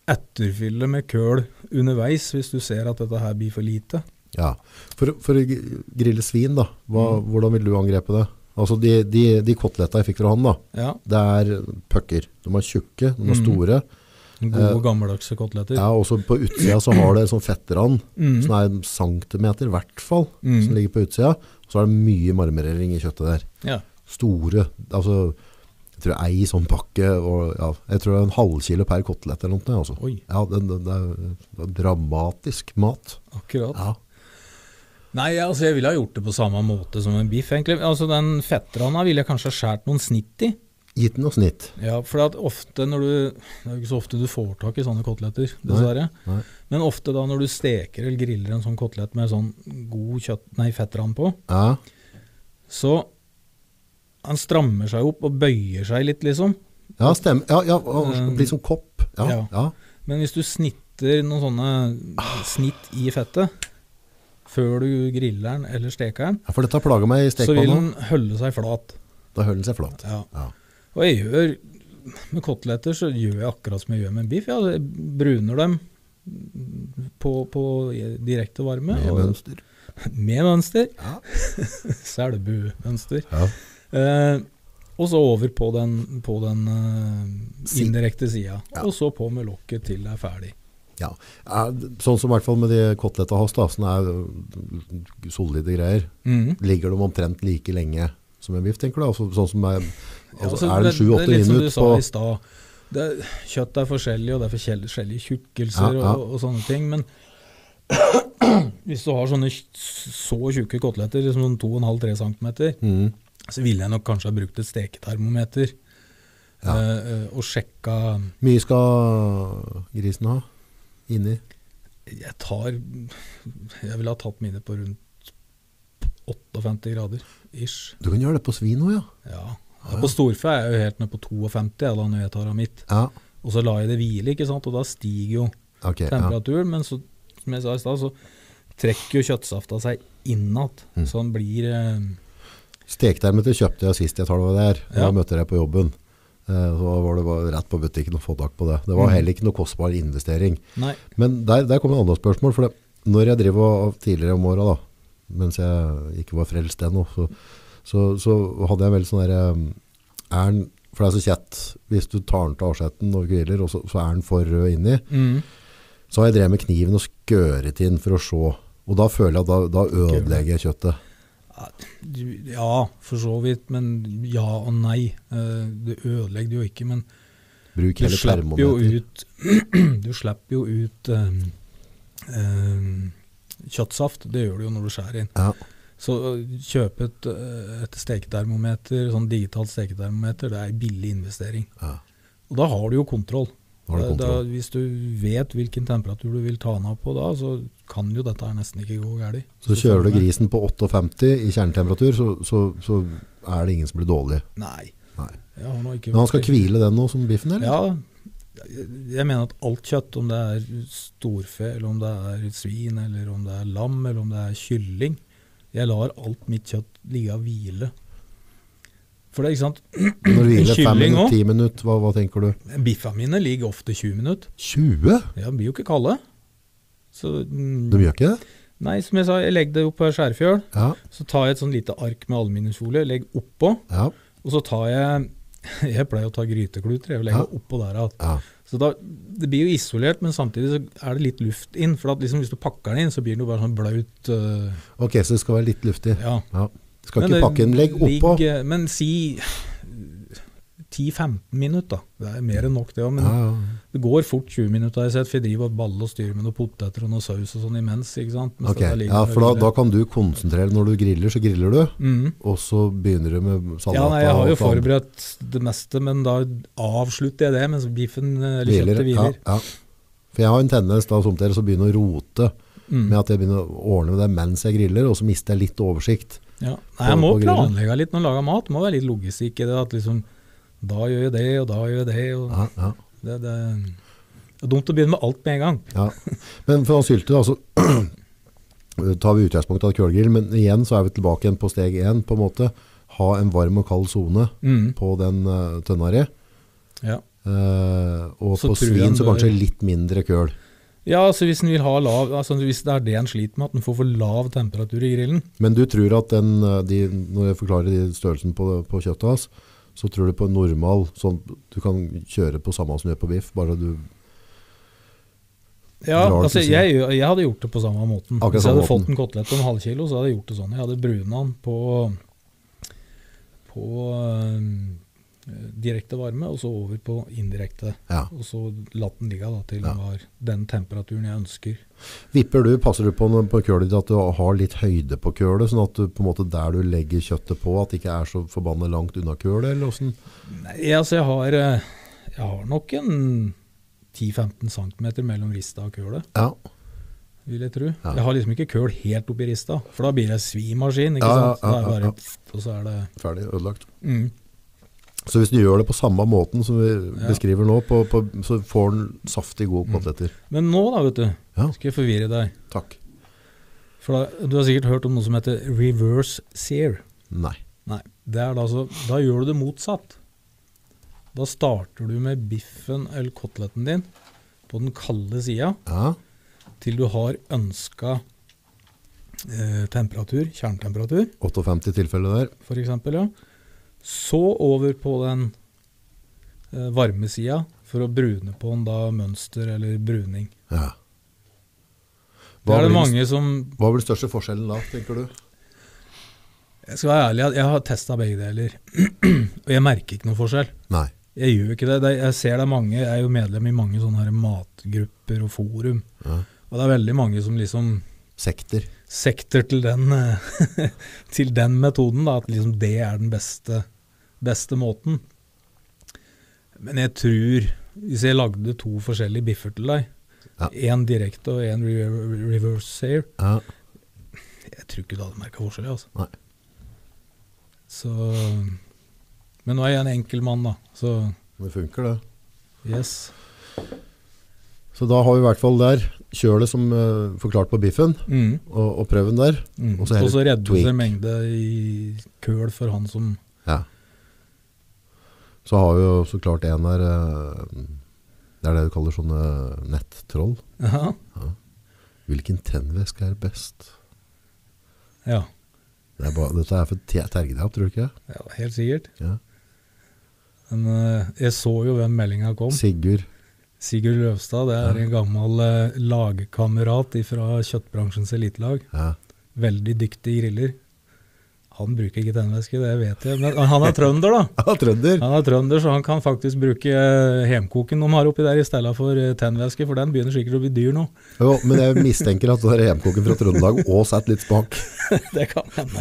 etterfylle med køl underveis hvis du ser at dette her blir for lite. Ja. For, for å gr- grille svin, da. Hva, Mm. Hvordan vil du angrepe det? Altså de, de, de koteletta jeg fikk fra han, da. Ja, Det er pucker. De er tjukke, de er Mm. store. Gode, Eh, gammeldagse koteletter. Ja, også på utsida så har det en sånn fettrand. Mm. som er en centimeter i hvert fall, Mm. som ligger på utsida. Og så er det mye marmorering i kjøttet der. Ja. Store, altså jeg tror ei sånn pakke, og, ja, jeg tror det er en halvkilo per kotelett eller noe. Altså. Oi, Ja, det, det, det, er, det er dramatisk mat. akkurat. Ja, Nei, altså jeg ville ha gjort det på samme måte som en biff, egentlig. Altså Den fettranda ville jeg kanskje ha skåret noen snitt i. gitt noe snitt. Ja, for at ofte når du Det er jo ikke så ofte du får tak i sånne koteletter, Nei, dessverre. nei. Men ofte da når du steker eller griller en sånn kotelett med sånn god kjøtt, nei, fettrand på, Ja, så han strammer seg opp og bøyer seg litt, liksom. ja stemmer. Ja, ja, å, Eh, bli som kopp. Ja, ja. ja. Men hvis du snitter noen sånne snitt i fettet før du griller den eller steker den, Ja, for dette plager meg i så vil stekepanna. den holde seg flat. Da hører den seg flat. Ja. Ja. Og jeg gjør med koteletter så gjør jeg akkurat som jeg gjør med biff. Ja, jeg bruner dem på, på direkte varme. Med og- mønster. Med mønster. Ja. Selbuemønster. Ja. Eh, og så over på den, på den eh, Si- indirekte sida. Ja. Og så på med lokket til det er ferdig. Ja. Ja, Sånn som i hvert fall med de koteletta hans, da, sånn er øh, solide greier. ligger de omtrent like lenge som en biff, tenker du? Altså, sånn som er, Ja, altså, altså, er det det- det 7-8 litt som du minutter sa på i stad. Det- Kjøtt er forskjellig, og det er forskjell- forskjellige Ja, tjukkelser ja. Og, og sånne ting. Men hvis du har sånne tj- så tjukke koteletter, liksom 2,5-3 cm, mm, så ville jeg nok kanskje ha brukt et steketermometer Ja. eh, eh, og sjekka Mye skal grisen ha inni? Jeg tar Jeg ville ha tatt mine på rundt 58 grader ish. Du kan gjøre det på svin òg, ja. Ja. På storfe er jeg jo helt ned på 52 jeg, da, når jeg tar av mitt. ja. Og så lar jeg det hvile, ikke sant? og da stiger jo Ok, ja. temperaturen. Men så, som jeg sa i stad, så trekker jo kjøttsafta seg innad. Mm. Så den blir eh, Steketermeter kjøpte jeg sist jeg tar det var der. Da Ja. møtte jeg på jobben. Eh, Så var det bare rett på butikken og få tak på det. Det var Mm. heller ikke noe kostbar investering. Nei. Men der, der kom et annet spørsmål. For det, når jeg driver og- og tidligere om åra, da, mens jeg ikke var frelst ennå, så, så, så hadde jeg veldig sånn derre um, er den- For det er så kjett hvis du tar den til avsetten og griller, og så, så er den for rød inni. Mm. Så har jeg drevet med kniven og skøret inn for å se. Og da føler jeg at da, da ødelegger jeg kjøttet. Du- Ja, for så vidt, men ja og nei. Eh, Det ødelegger det jo ikke, men Bruk du hele slipper jo termometer. ut Du slipper jo ut eh, eh, kjøttsaft. Det gjør du jo når du skjærer inn. Ja. Så eh, kjøpe et, eh, et steketermometer, sånn digitalt steketermometer, det er en billig investering. ja. Og da har du jo kontroll. Eh, Nå har du Da, kontroll. da, hvis du vet hvilken temperatur du vil ta den av på da, så kan jo dette her nesten ikke gå galt. Så sånn kjører du grisen på 58 i kjernetemperatur, så, så, så er det ingen som blir dårlig. Nei. Nei. Jeg har nå ikke Men han skal vært- hvile den nå, som biffen, eller? Ja, jeg jeg mener at alt kjøtt, om det er storfe, eller om det er svin, eller om det er lam, eller om det er kylling Jeg lar alt mitt kjøtt ligge og hvile. For det er ikke sant, Når du hviler Kylling 5 også? minutter, 10 minutter, hva, hva tenker du? biffa mine ligger ofte 20 minutter. 20? Ja, de blir jo ikke kalde. Så De mm, gjør ikke det? Nei, som jeg sa, jeg legger det opp på skjærfjøl. Ja, Så tar jeg et sånn lite ark med aluminiumsfolie, legger oppå. ja, Og så tar jeg Jeg pleier å ta grytekluter, jeg legger oppå der igjen. ja. Så da, Det blir jo isolert, men samtidig så er det litt luft inn. For at liksom hvis du pakker den inn, så blir den jo bare sånn blaut. øh, Ok, så det skal være litt luftig. ja. Ja. Skal Men ikke det pakke en legg oppå. Ja, ligger- Men si øh, 10-15 minutter, da. Det er mer enn nok, det òg. Men ja. det går fort 20 minutter. har Jeg sett, for jeg driver og baller og styrer med noen poteter og noe saus og sånn imens. ikke sant? Mens Ok, dette ligger ja, der for da, og da griller. kan du konsentrere Når du griller, så griller du, Mhm. og så begynner du med salat. Ja, nei, Jeg og har alt jo annet. forberedt det meste, men da avslutter jeg det mens biffen øh, eller Hviler, kjøttet hviler. Ja, ja. For jeg har en tendens da som dere så begynner å rote Mm. med at jeg begynner å ordne det mens jeg griller, og så mister jeg litt oversikt. Ja. Nei, jeg må på grillen. planlegge litt når jeg lager mat. Det må være litt logistikk i det. At liksom, da gjør jeg det, og da gjør jeg det. Og Ja, ja, det, det, det er dumt å begynne med alt med en gang. ja. Men for å sylte da, så tar vi utgangspunktet av kølgrill, men igjen så er vi tilbake igjen på steg 1 på en måte. Ha en varm og kald zone på den eh, tønna di. Mm. Ja. Eh, og Så på tror jeg svin den så bør- kanskje litt mindre køl. ja, altså hvis en vil ha lav altså Hvis det er det en sliter med, at en får for lav temperatur i grillen. Men du tror at den, eh, de, når jeg forklarer de størrelsen på, på kjøttet hans, så tror du på en normal, sånn du kan kjøre på samme som du gjør på biff, bare du Ja, Drar det altså til jeg, jeg hadde gjort det på samme måten. Akkurat hvis jeg samme hadde måten. fått en kotelett på en halv kilo, så hadde jeg gjort det sånn. Jeg hadde bruna den på, på eh, direkte varme, og så over på indirekte. ja. Og så latt den ligge da, til Ja. den var den temperaturen jeg ønsker. Vipper du, passer du på, når- på kølet ditt at du har litt høyde på kølet, sånn at du på en måte der du legger kjøttet på, at det ikke er så forbannet langt unna kølet, eller hvordan? Nei, altså jeg har, eh, jeg har nok en 10-15 cm mellom rista og kølet, Ja, vil jeg tro. Ja. Jeg har liksom ikke køl helt oppi rista, for da blir det svimaskin. ikke Ja, ja, sant? Da er ja, ja, det ja. bare, pff, og så er det ferdig, ødelagt. mm, Så hvis du gjør det på samme måten som vi Ja. beskriver nå, på, på, så får den saftig gode koteletter. Men nå, da, vet du, Ja. skal jeg forvirre deg. Takk. For da, Du har sikkert hørt om noe som heter reverse sear. Nei. Nei, det er da, altså, da gjør du det motsatt. Da starter du med biffen eller koteletten din på den kalde sida Ja, til du har ønska eh, temperatur, kjerntemperatur 58 tilfeller der. f.eks. Ja. Så over på den eh, varme sida for å brune på den da mønster eller bruning. Ja. Det Hva er det blir, mange som hva blir den største forskjellen da, tenker du? Jeg skal være ærlig, at jeg har testa begge deler, og jeg merker ikke noen forskjell. Nei. Jeg gjør ikke det. det. Jeg ser det er mange, jeg er jo medlem i mange sånne her matgrupper og forum. Ja. Og det er veldig mange som liksom Sekter. sekter til den, eh, til den metoden, da, at liksom det er den beste, beste måten. Men jeg tror, hvis jeg lagde to forskjellige biffer til deg, Ja. én direkte og én re- reverse sayer, Ja. jeg tror ikke du hadde merka forskjell. Altså. Nei. Så, men nå er jeg en enkel mann, da. Så Det funker det. yes. Så da har vi i hvert fall der kjølet som eh, forklart på biffen, Mm, og, og prøven der. mm. Og Og så heller så reddes tweak. en mengde i køl for han som Ja. Så har vi jo så klart en her eh, Det er det du kaller sånne nettroll. Ja. Hvilken tennvæske er best? ja. Det er bare, dette er for te- tergedap, tror du ikke? Ja, helt sikkert. Ja. Men eh, jeg så jo hvem meldinga kom. Sigurd. Sigurd Løvstad. Det er Ja. en gammel eh, lagkamerat fra kjøttbransjens elitelag. Ja. Veldig dyktig griller. Han bruker ikke tennvæske, det vet jeg. Men han er trønder, da. Ja, trønder. Han er trønder, så han kan faktisk bruke eh, hemkoken de har oppi der i stedet for eh, tennvæske, for den begynner sikkert å bli dyr nå. Jo, men jeg mistenker at den hjemkoken fra Trøndelag òg satt litt smak. Det kan hende.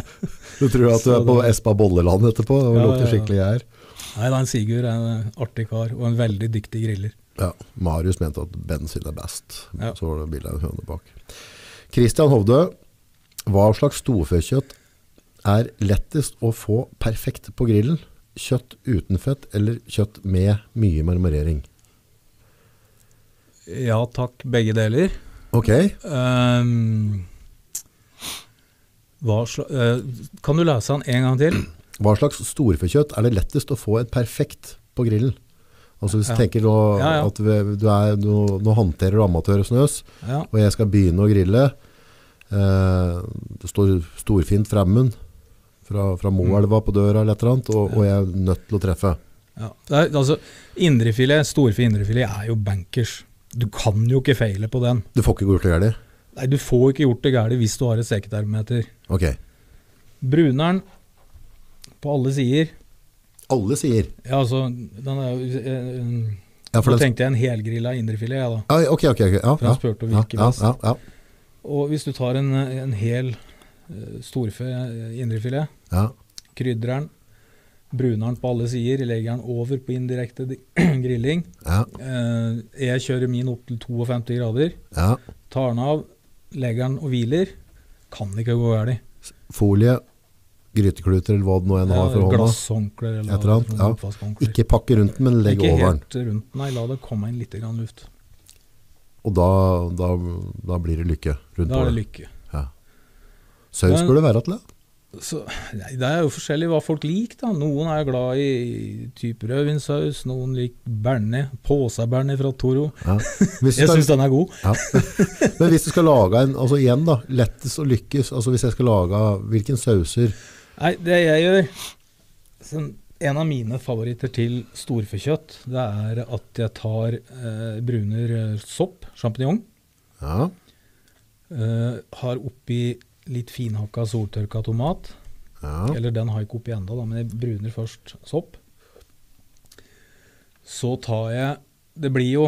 Du tror at du er på Espa Bolleland etterpå og Ja, ja, lukter ja. skikkelig gjær. Nei da, en Sigurd er en artig kar, og en veldig dyktig griller. Ja, Marius mente at bensin er best. Ja. Så var det bildet av en høne bak. Christian Hovde, hva slags storfekjøtt er lettest å få perfekt på grillen? Kjøtt uten fett eller kjøtt med mye marmorering? Ja takk, begge deler. Ok, Ehm, hva sla eh, kan du lese den en gang til? hva slags storfekjøtt er det lettest å få et perfekt på grillen? Altså hvis du Ja. tenker nå, Ja, ja. at vi- du er, nå, nå håndterer du amatør og snøs, Ja. og jeg skal begynne å grille. Eh, det står storfint fremmen fra, fra Moelva på døra eller et eller annet, og, og jeg er nødt til å treffe. Ja. Det er, altså, indrefilet, storfe indrefilet, er jo bankers. Du kan jo ikke feile på den. Du får ikke gjort det gærent? Nei, du får ikke gjort det gærent hvis du har et steketermometer. Ok. Bruneren på alle sider Alle sier Ja, altså, den er jo eh, eh, ja, for Nå den, tenkte jeg en helgrilla indrefilet, jeg, da. ja, Ok, ok. ok, Ja, For ja, han spurte om ja, hvilken ja, best. ja, ja, Og hvis du tar en, eh, en hel eh, storfe eh, indrefilet, ja. krydrer den, bruner den på alle sider, legger den over på indirekte di- grilling. ja, Eh, Jeg kjører min opp til 52 grader, ja. tar den av, legger den og hviler. Kan ikke gå galt. Folie, grytekluter eller hva det nå enn har for hånda. Glasshåndklær Et eller eller annet, ja. oppvaskhåndklær. Ikke pakke rundt den, men legg Ikke over den. helt rundt, nei. La det komme inn litt grann luft. Og da, da, da blir det lykke rundt Da er bordet. det lykke. Ja. Saus Men- skulle det være til, ja. Så, nei, det er jo forskjellig hva folk liker. da. Noen er glad i type rødvinsaus, noen liker berne, påseberne fra Toro. ja. Hvis du Jeg skal- syns den er god. Ja. Men hvis du skal lage en, altså igjen da, lettest og lykkes, altså hvis jeg skal lage hvilken sauser, Nei, det jeg gjør sånn, En av mine favoritter til storfekjøtt, det er at jeg tar eh, bruner eh, sopp, sjampinjong, ja, eh, har oppi litt finhakka soltørka tomat. ja, Eller den har jeg ikke oppi ennå, da, men jeg bruner først sopp. Så tar jeg Det blir jo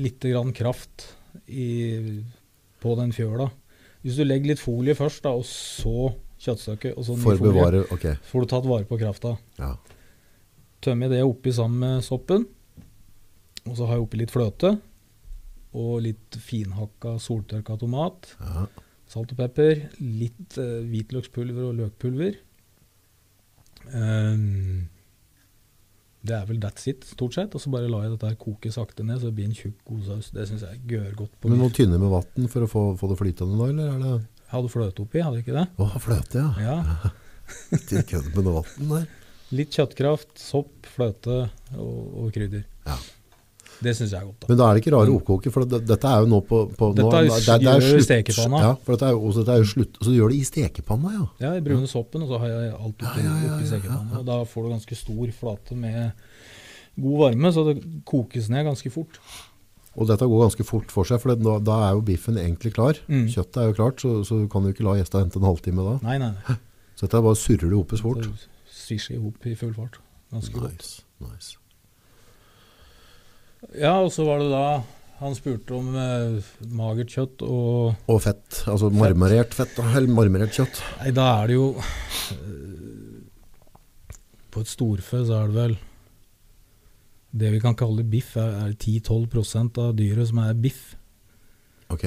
litt grann kraft i, på den fjøla. Hvis du legger litt folie først, da, og så kjøttstykket, og så ny for å folie, bevare, ok, får du tatt vare på krafta. ja, Tømmer jeg det oppi sammen med soppen. Og så har jeg oppi litt fløte. Og litt finhakka soltørka tomat. ja, Salt og pepper, litt eh, hvitløkspulver og løkpulver. Ehm, det er vel that's it, stort sett. Og så bare lar jeg dette her koke sakte ned, så det blir en tjukk godsaus. Det syns jeg gør godt på men må biff. du tynne med vatten for å få, få det flytende da, eller er det, Jeg hadde fløte oppi, hadde jeg ikke det? å, fløte, ja, Ja. ikke kødd med noe vatten der, Litt kjøttkraft, sopp, fløte og, og krydder. Ja. Det syns jeg er godt, da. men da er det ikke rare oppkoker, for det, dette er jo nå på, på nå, Dette er jo- det- det er gjør jo i slutt- stekepanna. ja, for dette er jo, også, dette er jo slutt, så du gjør det i stekepanna, ja, Ja, jeg bruner soppen, og så har jeg alt oppi, Ja, ja, ja, oppi ja, ja, sekepanna. Og da får du ganske stor flate med god varme, så det kokes ned ganske fort. og dette går ganske fort for seg, for det, da, da er jo biffen egentlig klar, Mm. kjøttet er jo klart, så, så du kan jo ikke la gjestene hente en halvtime da, Nei, nei, nei. så dette er bare surrer det opp i sport. Så Svisje i hop i full fart. Ganske godt. Nice, nice. Ja, og så var det da han spurte om eh, magert kjøtt og Og fett, altså marmorert fett, da, eller marmorert kjøtt. Nei, da er det jo eh, På et storfe så er det vel Det vi kan kalle biff, er, er 10-12 av dyret som er biff. Ok,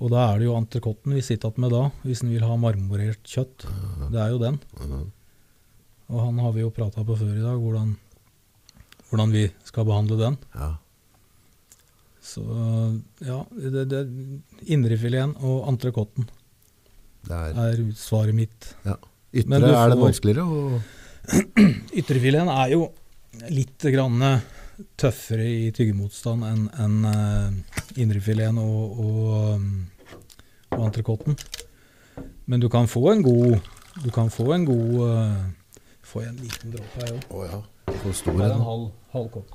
Og da er det jo entrecôten vi sitter igjen med da, hvis en vil ha marmorert kjøtt. Det er jo den. Mhm. Og han har vi jo prata på før i dag, hvordan, hvordan vi skal behandle den. ja. Så ja, det, det, indrefileten og entrecôten Det er, er svaret mitt. men ytre du er det får- vanskeligere, og Ytrefileten er jo litt grann eh, tøffere i tyggemotstand enn enn, eh, indrefileten og, og, um, og entrecôten. Men du kan få en god Du kan få en god eh, Får jeg en liten dråpe her òg? å ja, for stor en. Bare en halv, halv kopp.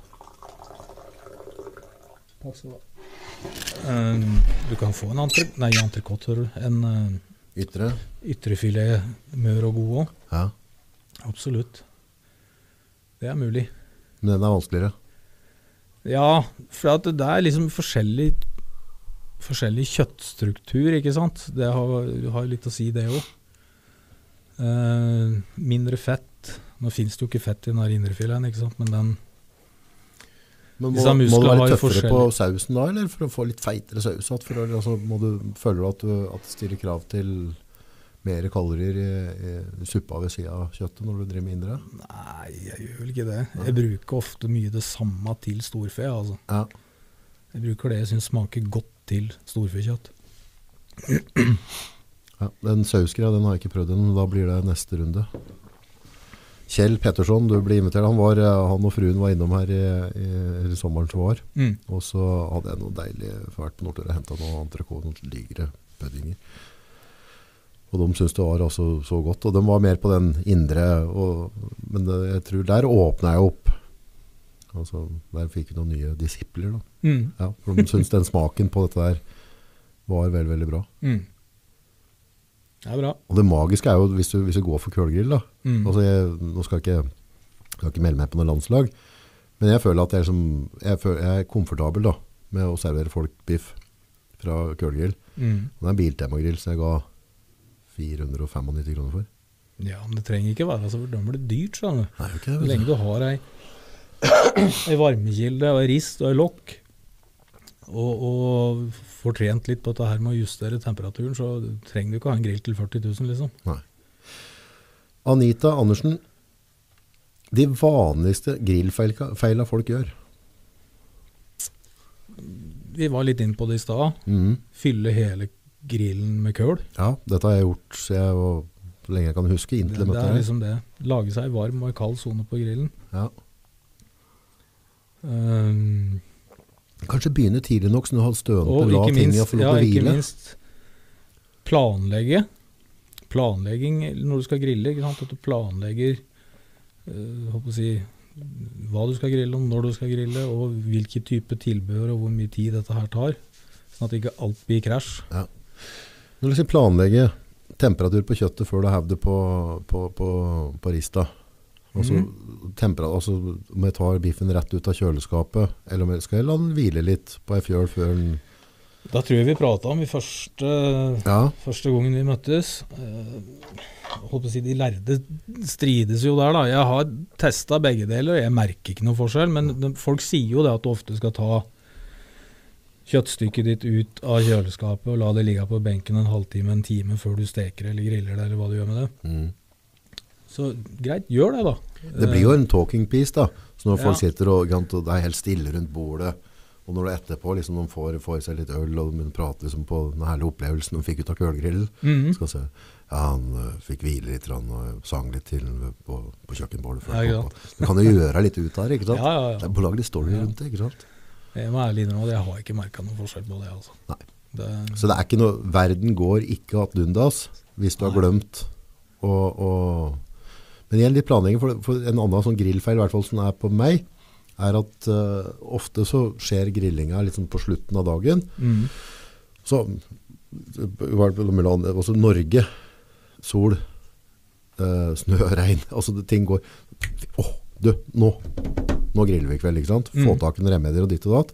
Takk skal du ha. Eh, du kan få en antre- nei, entrecôte, hører du. En eh, Ytre? Ytrefilet mør og god òg. Ja. Absolutt. Det er mulig. Men den er vanskeligere. Ja, for at det er liksom forskjellig Forskjellig kjøttstruktur, ikke sant. Det har, har litt å si, det òg. mindre fett. Nå fins det jo ikke fett i den her indrefileten, ikke sant, men den Men må, Disse må du være musklene har litt jo tøffere på sausen da, eller for å få litt feitere saus? At for, å- altså, må du føle at du at det stiller krav til mer kalorier i, i suppa ved sida av kjøttet når du driver med indre? Nei, jeg gjør vel ikke det. Jeg bruker ofte mye det samme til storfe. Altså. Ja. Jeg bruker det jeg syns smaker godt til storfekjøtt. Ja, den sausgreia den har jeg ikke prøvd ennå. Da blir det neste runde. Kjell Petterson, du ble invitert. Han, var, eh, han og fruen var innom her i, i, i sommeren som var. Og så hadde jeg noe deilig vært på Nordtøra og henta noen entrecôte, noen digre puddinger. Og de syntes det var altså så godt. Og de var mer på den indre. Og, men det, jeg tror der åpna jeg opp. Altså, der fikk vi noen nye disipler, da. Ja, for de syntes den smaken på dette der var veldig, veldig bra. Det er bra. Og det magiske er jo hvis du, hvis du går for kølgrill, da. Mm. Altså, jeg, nå skal jeg ikke, skal ikke melde meg på noe landslag, men jeg føler at jeg, er som- jeg, føler, jeg er komfortabel da, med å servere folk biff fra kølgrill. Mm. Og Det er en biltemagrill som jeg ga 495 kroner for. Ja, men det trenger ikke være så fordømmelig dyrt. sa du. Nei, okay, Så lenge du har ei, ei varmekilde og ei rist og ei lokk, og, og får trent litt på dette her med å justere temperaturen, så trenger du ikke ha en grill til 40 000, liksom. Nei. Anita Andersen, de vanligste grillfeila folk gjør. Vi var litt inn på det i stad. Mhm. Fylle hele grillen med køl. Ja, dette har jeg gjort så, jeg, var- så lenge jeg kan huske, Det, inntil jeg det møtte er deg. liksom det. Lage seg varm og i kald sone på grillen. Ja. Ehm, Kanskje begynne tidlig nok, så du har stønete, og la ikke tingene minst, få lov ja, til å ikke hvile. minst planlegge. Planlegging når du skal grille. Ikke sant? At du planlegger eh, håper å si, hva du skal grille, og når du skal grille, og hvilke type tilbehør og hvor mye tid dette her tar. Sånn at ikke alt blir krasj. Når du skal planlegge temperatur på kjøttet før du hever det på, på, på, på rista altså, Mhm. tempera- altså om jeg tar biffen rett ut av kjøleskapet, eller om jeg skal jeg la den hvile litt på ei fjøl før den Da tror jeg vi prata om i første Ja, Første gangen vi møttes eh, Holdt på å si De lærde strides jo der, da. Jeg har testa begge deler, og jeg merker ikke noe forskjell. Men de, folk sier jo det at du ofte skal ta kjøttstykket ditt ut av kjøleskapet og la det ligge på benken en halvtime, en time før du steker eller griller det, eller hva du gjør med det. mm. Så greit, gjør det, da. Det blir jo en talking piece, da. Så når folk Ja. sitter og, ikke sant, og det er helt stille rundt bordet, og når du etterpå liksom, de får, får seg litt øl og de prater liksom, på den herlige opplevelsen de fikk ut av kølgrillen Mhm. Skal se. Ja, han ø, fikk hvile litt grann, og sang litt til på, på kjøkkenbordet. før Ja, han kom på. Du kan jo gjøre litt ut der, ikke sant? Ja, ja, ja. Det er Lag litt story Ja. rundt det, ikke sant? Jeg må ærlig innrømme at jeg har ikke merka noen forskjell på det, altså. Nei. Det, Så det er ikke noe, verden går ikke at dundas hvis du har Nei. glemt å, å Men igjen litt planlegging, for, for en annen sånn grillfeil, i hvert fall som er på meg, er at ø, ofte så skjer grillinga liksom på slutten av dagen. mm, Så var det vel mellom andre- også Norge, sol, eh, snø, regn, altså det, ting går. Åh, du, nå, nå griller vi i kveld, ikke sant? Få Mm. tak i noen remedier og ditt og datt.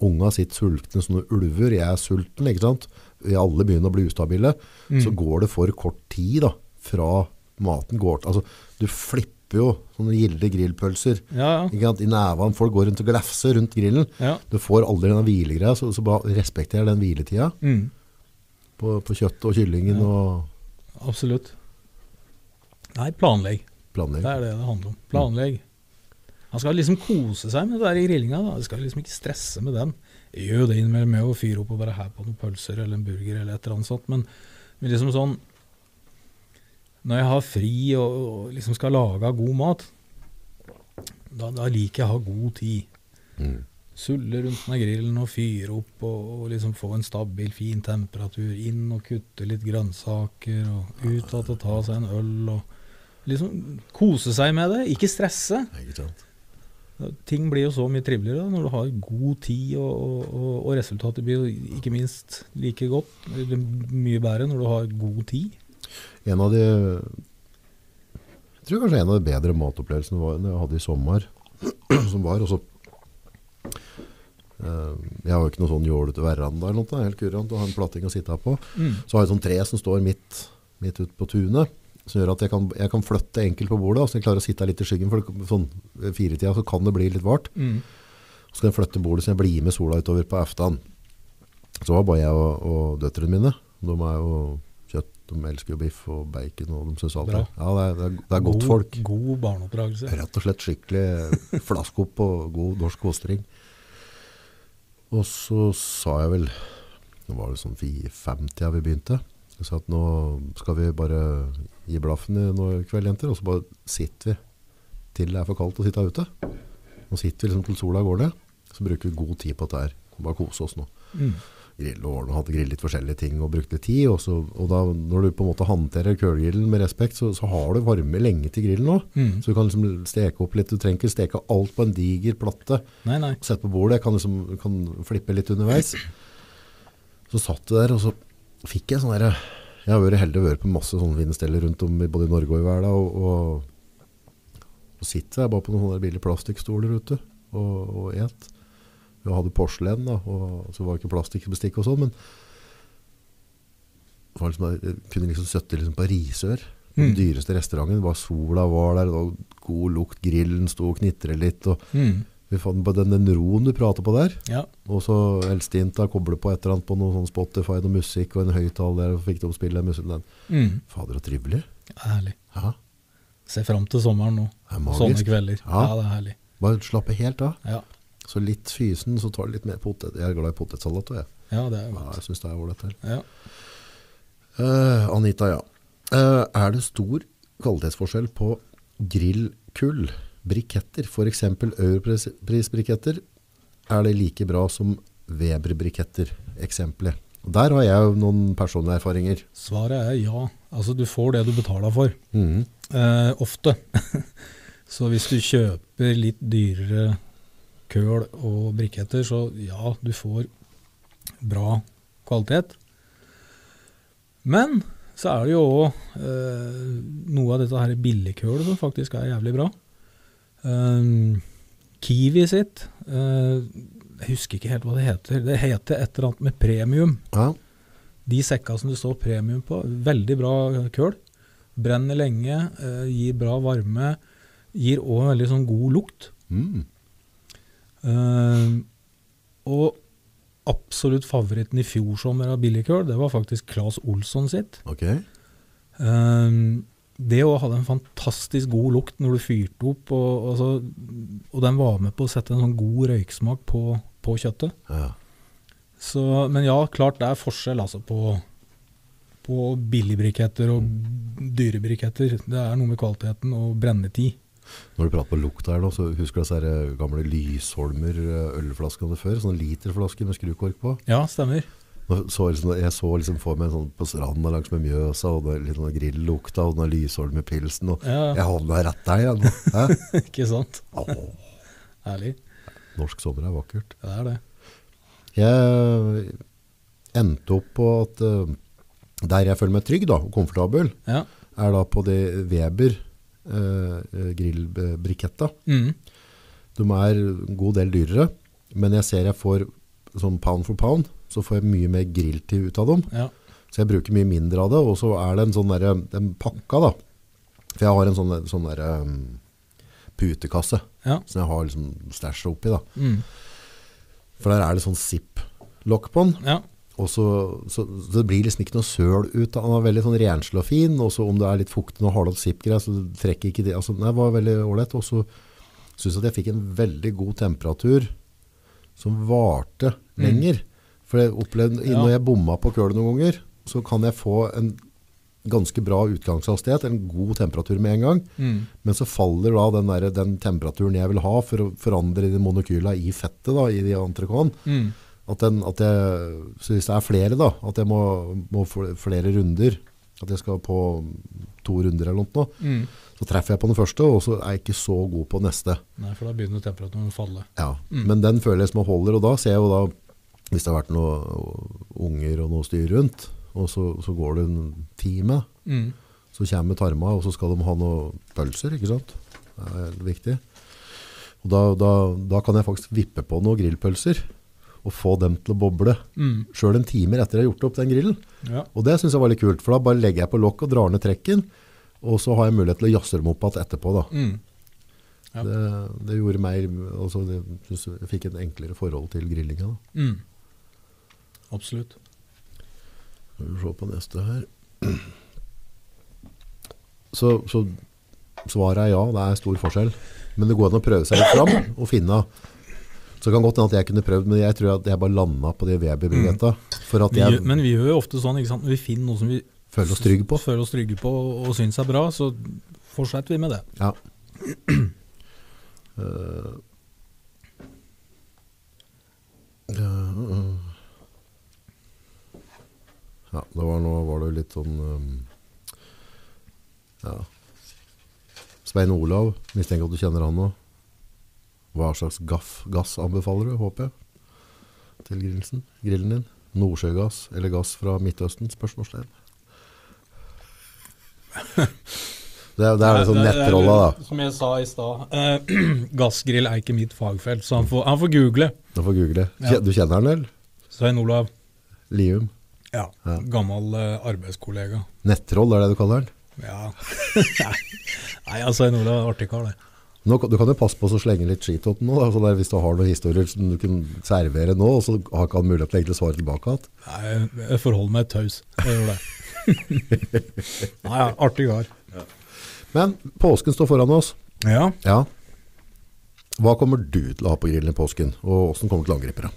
Unga sitter sultne som noen ulver, jeg er sulten, ikke sant? Vi alle begynner å bli ustabile. Så Mm. går det for kort tid da, fra maten går til, altså du flipper jo sånne gilde grillpølser, ja, ja. ikke sant? I nevaen, folk går rundt og glefser rundt grillen. ja. Du får aldri denne hvilegreia, så, så bare respekter den hviletida Mm. på, på kjøtt og kyllingen Ja. og Absolutt. Nei, planlegg. Det planlegg. er det det handler om. Planlegg. Han skal liksom kose seg med det der i grillinga. da. Du skal liksom ikke stresse med den. Jeg gjør jo det innimellom med å fyre opp og bare her på noen pølser eller en burger eller et eller annet sånt, men, men liksom sånn Når jeg har fri og, og liksom skal lage god mat, da, da liker jeg å ha god tid. Mm. Sulle rundt med grillen og fyre opp og, og liksom få en stabil, fin temperatur. Inn og kutte litt grønnsaker og ut og ta- ta seg en øl og liksom kose seg med det. Ikke stresse. Ikke sant? Ting blir jo så mye triveligere da, når du har god tid, og, og, og, og resultatet blir jo ikke minst like godt, eller mye bedre, når du har god tid. En av de Jeg tror kanskje en av de bedre matopplevelsene var, jeg hadde i sommer, som var også eh, Jeg har jo ikke noe sånn jålete veranda eller noe, det er helt kurant å ha en platting å sitte her på. Mm. Så har jeg et sånt tre som står midt, midt ute på tunet, som gjør at jeg kan, jeg kan flytte enkelt på bordet, så jeg klarer å sitte litt i skyggen, for det- sånn ved firetida så kan det bli litt vart. Mm. Så kan jeg flytte bordet så jeg blir med sola utover på aftan. Så var bare jeg og, og døtrene mine. De er jo kjøtt, de elsker jo biff og bacon, og de synes alt Bra. det. Ja, det er, det er, det er godt god, folk. God barneoppdragelse. Rett og slett skikkelig flaskopp og god norsk kostring. Og så sa jeg vel Nå var det sånn 4.50 vi begynte. Jeg sa at nå skal vi bare gi blaffen i nå i kveld, jenter, og så bare sitter vi til det er for kaldt å sitte her ute. Nå sitter vi liksom til sola går ned, så bruker vi god tid på dette her. Bare kose oss nå Mm. grille og ordne, hadde grillet litt forskjellige ting og brukt litt tid. Og, så, og da, når du på en måte håndterer kølgrillen med respekt, så, så har du varme lenge til grillen nå. Mm. Så du kan liksom steke opp litt. Du trenger ikke steke alt på en diger platte. Nei, nei. Sett på bordet, kan liksom kan flippe litt underveis. Så satt du der, og så fikk jeg sånn derre Jeg har vært heldig og vært på masse sånne fine steder rundt om i både i Norge og i verden. Og, og, og sitter jeg bare på noen sånne der billige plastikkstoler ute og, og et. Vi hadde porselen, da, og så var det ikke plastikkbestikk og sånn, men det var liksom, jeg kunne liksom søtte liksom på risør. Den Mm. dyreste restauranten, det var sola var der, det var god lukt, grillen sto og knitret litt. og Mm. Fy faen, på den, den roen du prater på der, Ja. og så Elstinta kobler på et eller annet på noe sånn Spotify, noe musikk og en høyttaler, og fikk de spille musikk den. Mm. Fader, og trivelig. Herlig. Ja, Se fram til sommeren nå. det er magisk. Sånne kvelder. Ja. Ja. det er herlig. Bare slappe helt av. Ja, Så litt fysen, så tar du litt mer potet. Jeg er glad i potetsalat, og jeg. ja det er Ja, godt. jeg synes det er ålreit her. Ja. Eh, Anita, ja. Eh, er det stor kvalitetsforskjell på grillkull, briketter, for eksempel Europris-briketter? Er det like bra som Weber-briketter, eksempelet? Og Der har jeg jo noen personlige erfaringer. Svaret er ja. Altså, du får det du betaler for. Mhm. Eh, ofte. så hvis du kjøper litt dyrere køl og briketter, så ja, du får bra kvalitet. Men så er det jo òg eh, noe av dette her billigkølet som faktisk er jævlig bra. Eh, Kiwi sitt eh, Jeg husker ikke helt hva det heter. Det heter et eller annet med premium. Ja, De sekka som det står premium på, veldig bra køl. Brenner lenge, eh, gir bra varme. Gir òg veldig sånn god lukt. Mm. Eh, og absolutt favoritten i fjor sommer av billigkøl, det var faktisk Claes Olsson sitt. ok. Eh, det òg hadde en fantastisk god lukt når du fyrte opp, og, og, så, og den var med på å sette en sånn god røyksmak på, på kjøttet. Ja. Så, men ja, klart det er forskjell altså, på, på billigbriketter og dyre briketter. Det er noe med kvaliteten og brennetid. Når du prater på lukt her nå, så husker du disse her gamle Lysholmer eh, ølflaskene før? Sånne literflasker med skrukork på? Ja, stemmer. Nå Så jeg liksom, jeg så liksom for meg en sånn på stranda langs med Mjøsa, og det, litt sånn grillukta, og den Lysholmer-pilsen. Og Ja, jeg havna rett der igjen. Hæ? ikke sant? Åh, Herlig. norsk sommer er vakkert. Det er det. Jeg endte opp på at eh, der jeg føler meg trygg da, og komfortabel, Ja. er da på det Weber eh, grillbriketta. Mm. De er en god del dyrere, men jeg ser jeg får sånn pound for pound, så får jeg mye mer grilltid ut av dem. ja. Så jeg bruker mye mindre av det, og så er det en sånn derre- den pakka da. For jeg har en sånn, sånn der, um, putekasse, Ja. som jeg har liksom stasjet oppi da. Mm. For der er det sånn zip-lokk på den, ja. og så, så, så det blir liksom ikke noe søl ut av den. Den er veldig sånn renslig og fin, og så om det er litt fuktig og hardlått zip-greier, så det trekker ikke det. Altså, det var veldig ålreit, og så synes jeg at jeg fikk en veldig god temperatur som varte lenger. For jeg opplevde, Ja. når jeg bomma på kølet noen ganger, så kan jeg få en ganske bra utgangshastighet, en god temperatur med en gang, Mm. men så faller da den, der, den temperaturen jeg vil ha for å forandre de monokyla i fettet da, i de entrecôtene, Mm. at, den, at jeg, så hvis det er flere da, at jeg må, må fl- flere runder, at jeg skal på to runder eller noe. Mm. Så treffer jeg på den første, og så er jeg ikke så god på neste. Nei, for da begynner temperaturen å falle. Ja. Mm. Men den føler jeg som jeg holder, og da ser jeg jo da hvis det har vært noen unger og noe styr rundt, og så, så går det en time, Mm. så kommer tarma, og så skal de ha noen pølser, ikke sant? Det er viktig. Og da, da, da kan jeg faktisk vippe på noen grillpølser, og få dem til å boble, Mm. selv en timer etter jeg har gjort opp den grillen. Ja. Og det synes jeg var litt kult, for da bare legger jeg på lokk og drar ned trekken, og så har jeg mulighet til å jazze dem opp igjen etterpå. Da. Mm. Ja. Det, det gjorde meg altså, det, synes Jeg fikk et enklere forhold til grillinga. Da. Mm. Absolutt. Skal vi se på neste her. Så, så svaret er ja, det er stor forskjell. Men det går an å prøve seg litt fram og finne Så det kan godt hende at jeg kunne prøvd, men jeg tror at jeg bare landa på de Weber-brilletta. For at Vi, jeg gjør- Mm. men vi gjør jo ofte sånn, ikke sant. Når vi finner noe som vi føler oss trygg på. føler oss trygge på og og syns er bra, så fortsetter vi med det. Ja. Eh, eh, ja, det var nå var det jo litt sånn ehm, Ja. Svein Olav, mistenker at du kjenner han nå. Hva slags gaff, gass anbefaler du, håper jeg, til grillen, grillen din? Nordsjøgass eller gass fra Midtøsten? Spørsmålstegn. Det, er- det er liksom nettrolla, da. Som jeg sa i stad, Eh, gassgrill er ikke mitt fagfelt, så han får, han får google. Du får google. Ja. Du kjenner han, eller? Svein Olav. Lium. Ja. Ja. Gammel eh, arbeidskollega. Nettroll er det du kaller han. Ja. Nei, ja, Svein Olav er en artig kar, det. Nå, kan- du kan jo passe på å slenge litt skit til den nå, da, så der, hvis du har noen historier som du kan servere nå, og så har ikke han mulighet til å egentlig svare tilbake. at, Nei, jeg- jeg forholder meg taus. Jeg gjør det. Nei, ja, artig kar. Men påsken står foran oss. Ja. Ja. Hva kommer du til å ha på grillen i påsken, og hvordan kommer du til å angripe det?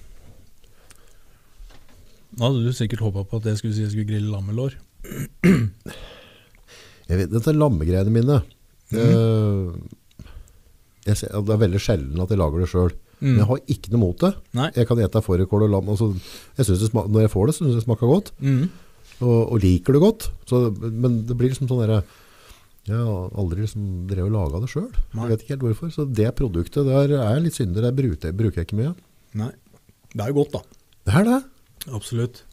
Nå hadde du sikkert håpa på at jeg skulle si jeg skulle grille lammelår. Jeg vet, dette er lammegreiene mine. Eh, jeg ser, det er veldig sjelden at jeg lager det selv. Men jeg har ikke noe mot det. Nei. Jeg kan ete fårikål og lam. Altså, jeg synes det sma- når jeg får det, så synes jeg det smaker godt. Mm. og, og liker det godt. Så, men det blir liksom sånn derre Jeg har aldri liksom drevet og laga det sjøl. Nei. Jeg vet ikke helt hvorfor. Så det produktet der er litt synder. Der bruker, jeg- bruker jeg ikke mye. Nei. Det er jo godt, da. Det er det. Absolutt.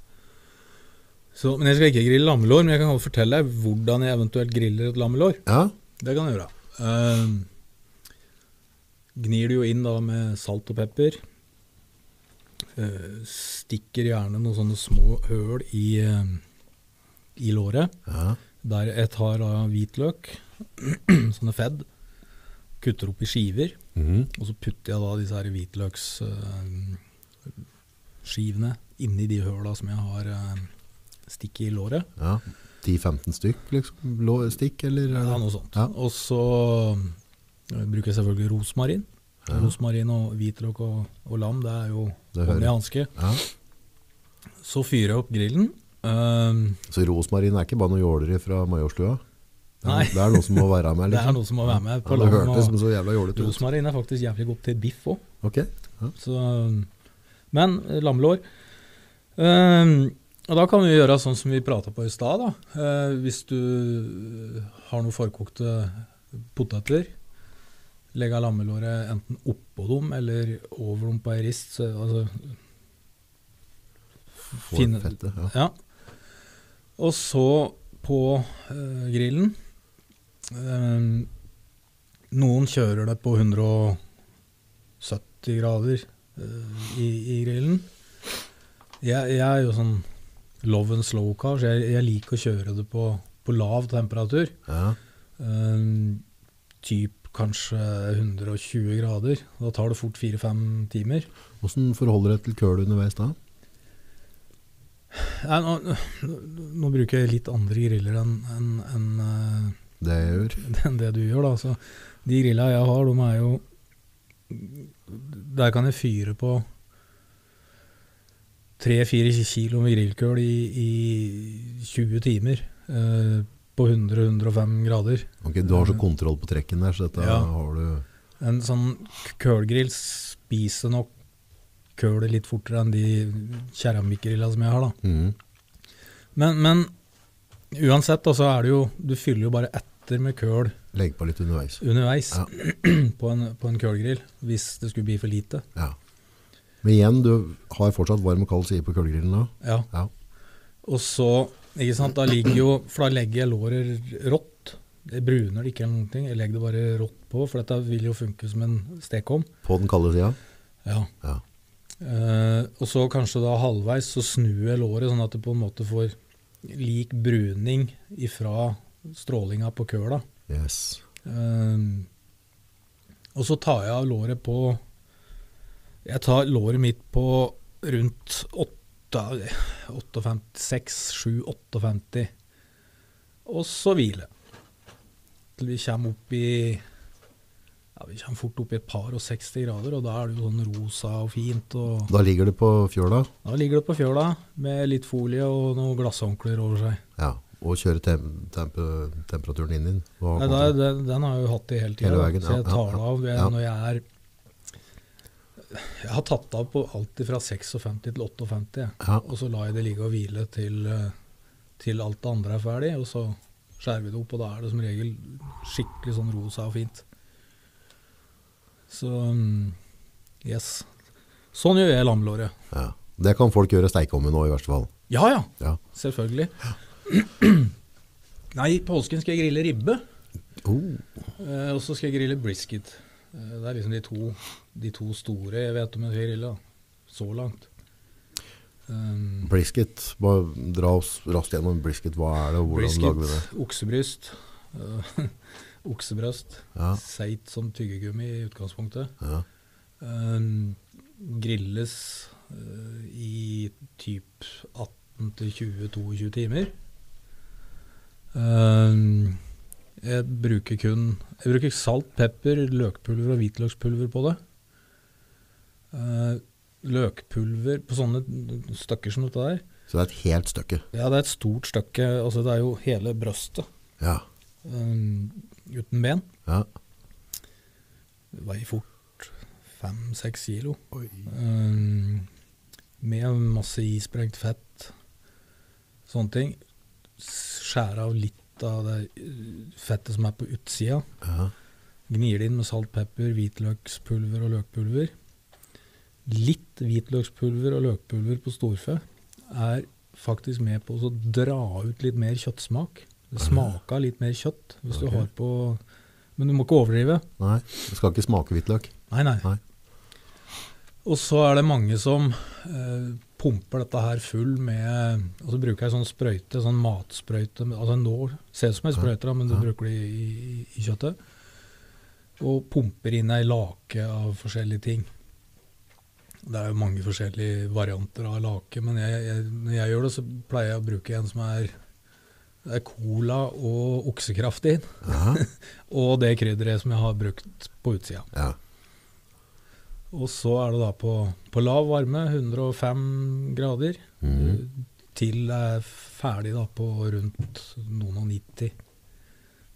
Så, men jeg skal ikke grille lammelår, men jeg kan godt fortelle deg hvordan jeg eventuelt griller et lammelår. Ja. Det kan jeg gjøre. Ehm, gnir det jo inn da med salt og pepper. Eh, stikker gjerne noen sånne små høl i, eh, i låret. ja. Der jeg tar da hvitløk, sånne fedd, kutter opp i skiver. Mhm. Og så putter jeg da disse her hvitløksskivene inni de høla som jeg har eh, stikket i låret. ja. 10-15 stykk, liksom? Lå, stikk, eller? er det- Ja, noe sånt. Ja. Og så eh, bruker jeg selvfølgelig rosmarin. Ja. Rosmarin og hvitløk og, og lam, det er jo Det hører vanlig hanske. Ja. Så fyrer jeg opp grillen. Ehm, Så rosmarin er ikke bare noe jåleri fra Majorstua? Det er- Nei. Det er noe som må være med, det er liksom? noe som må være med ja, på det lam. hørtes som og så jævla jålete ut. Rosmarin er faktisk jævlig godt til biff òg. Ok. Så, men eh, lammelår. Ehm, og da kan vi gjøre sånn som vi prata på i stad. da. Eh, hvis du har noen forkokte poteter, legge lammelåret enten oppå dem eller over dem på ei rist. Så, altså, Får Fin- fettet, ja. ja. Og så på eh, grillen Ehm, Noen kjører det på 170 grader eh, i, i grillen. Jeg, jeg er jo sånn love and slow car, så jeg, jeg liker å kjøre det på, på lav temperatur. ja. Ehm, typ kanskje 120 grader. Da tar det fort fire-fem timer. Hvordan forholder du deg til køl underveis da? Nei, nå, nå- nå bruker jeg litt andre griller enn enn- enn, eh, Det jeg gjør? enn det du gjør, da. Så de grilla jeg har, de er jo Der kan jeg fyre på tre-fire kilo med grillkøl i, i 20 timer. Eh, på 100-105 grader. Ok, Du har så kontroll på trekken der, så dette Ja. har du En sånn k- kølgrill spiser nok kølet litt fortere enn de keramikkgrilla som jeg har, da. Mhm. Men, men Uansett, da, så er det jo Du fyller jo bare etter med køl Legg på litt underveis. underveis Ja. på, en, på en kølgrill hvis det skulle bli for lite. Ja. Men igjen, du har fortsatt varm og kald side på kullgrillen da. Ja. Ja. Og så, ikke sant, da ligger jo For da legger jeg låret rått. Jeg bruner det ikke eller noen ting. Jeg legger det bare rått på, for dette vil jo funke som en stekeovn. På den kalde sida. Ja. Ja. Eh, og så kanskje da halvveis så snur jeg låret, sånn at det på en måte får lik bruning ifra strålinga på køla. Yes. Ehm, og så tar jeg av låret på Jeg tar låret mitt på rundt 6-7-58. Og så hvile. Til vi kommer opp i ja, Vi kommer fort opp i et par og 60 grader, og da er det jo sånn rosa og fint. Og Da ligger det på fjøla da ligger det på fjøla med litt folie og noen glasshåndklær over seg. ja. og kjører tem tempe- temperaturen inn din. Og- Nei, da, den, den har jeg jo hatt det hele tida. Hele veien, Så jeg ja, ja, tar det ja, av jeg, ja. når jeg er Jeg har tatt det av på alt fra 56 til 58, jeg. Ja. og så lar jeg det ligge og hvile til, eh, til alt det andre er ferdig. Og så skjærer vi det opp, og da er det som regel skikkelig sånn rosa og fint. Så mm, yes. Sånn gjør jeg lammelåret. ja. Det kan folk gjøre steikeovnen nå i verste fall. Ja ja, Ja. selvfølgelig. Nei, i påsken skal jeg grille ribbe. Oh. Eh, og så skal jeg grille brisket. Eh, det er liksom de to, de to store jeg vet om jeg skal grille da. så langt. Um, Brisket, bare dra oss raskt gjennom brisket. Hva er det, og hvordan brisket, lager vi det? oksebryst, eh, oksebrøst, Ja. seigt som tyggegummi i utgangspunktet. Ja. Um, grilles eh, i typ 18-20-22 timer. Um, jeg bruker kun Jeg bruker salt, pepper, løkpulver og hvitløkspulver på det. Eh, løkpulver på sånne stykker som dette der. Så det er et helt stykke. Ja, det er et stort stykke. Altså, det er jo hele brøstet Ja. um, uten ben. ja. Det veier fort fem-seks kilo. Oi. Um, med masse isprengt fett, sånne ting. Skjære av litt av det uh, fettet som er på utsida. Ja. Gnir det inn med salt, pepper, hvitløkspulver og løkpulver. Litt hvitløkspulver og løkpulver på storfe er faktisk med på å så dra ut litt mer kjøttsmak. Det smaker litt mer kjøtt Ok. hvis du har på Men du må ikke overdrive. Nei, det skal ikke smake hvitløk. Nei, nei. Nei. Og så er det mange som eh, pumper dette her full med Og så bruker jeg sånn sprøyte, sånn matsprøyte med- Altså en nål. Ser ut som ei sprøyte, da, men du Ja. bruker det i, i, i kjøttet. Og pumper inn ei lake av forskjellige ting. Det er jo mange forskjellige varianter av lake, men jeg, jeg, når jeg gjør det, så pleier jeg å bruke en som er, det er cola og oksekraft i. Ja. Og det krydderet som jeg har brukt på utsida. Ja. Og så er det da på, på lav varme, 105 grader, Mhm. til det er ferdig da på rundt noen og 90.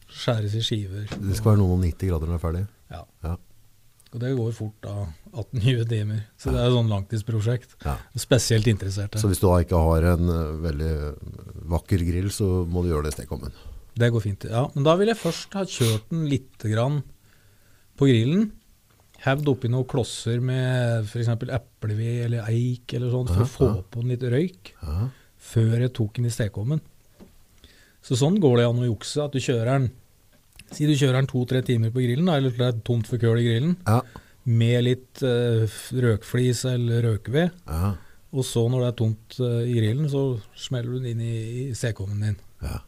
Skjæres i skiver. Det skal være noen og 90 grader når det er ferdig. Ja. Ja. Og det går fort da, 18-20 timer. Så det er et sånn langtidsprosjekt. Ja. Spesielt interesserte. Så hvis du da ikke har en eh, veldig vakker grill, så må du gjøre det i stekeovnen. Det går fint. Ja, men da vil jeg først ha kjørt den litt grann på grillen. Hevd oppi noen klosser med f.eks. epleved eller eik eller sånn, for Ja, å få ja. på den litt røyk. Ja. før jeg tok den i stekeovnen. Så sånn går det an å jukse. At du kjører den Si du kjører den to-tre timer på grillen, da, eller til det er tomt for køl i grillen, Ja. med litt eh, f- røkflis eller røkved. Ja. Og så når det er tomt eh, i grillen, så smeller du den inn i, i stekeovnen din. Ja.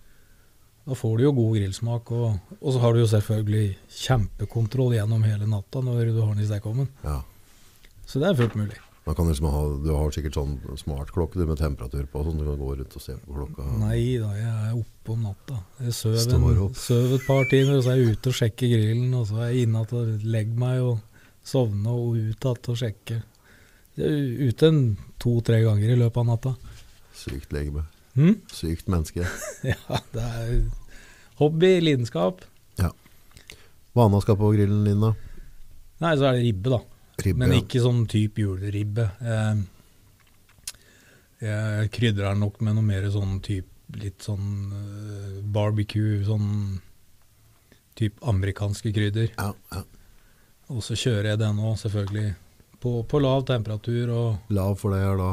Da får du jo god grillsmak, og, og så har du jo selvfølgelig kjempekontroll gjennom hele natta når du har den i stekeovnen. ja. Så det er fullt mulig. Da kan du, liksom ha, du har sikkert sånn smartklokke du, med temperatur på, sånn du kan gå rundt og se på klokka. Nei da, jeg er oppe om natta. Jeg sover, Står en, opp. sover et par timer, og så er jeg ute og sjekker grillen. Og så er jeg inne igjen og legger meg og sovner og ut igjen og sjekker. Jeg er ute en to-tre ganger i løpet av natta. Sykt legeme. Hm? Sykt menneske. Ja, det er hobby, lidenskap. Hva annet skal på grillen din, da? Nei, så er det ribbe, da. Ribbe. Men ja. ikke sånn type juleribbe. Eh, Jeg krydrer den nok med noe mer sånn type litt sånn eh, barbecue, sånn type amerikanske krydder. Ja, ja. Og så kjører jeg den òg, selvfølgelig. På, på lav temperatur og Lav for det er da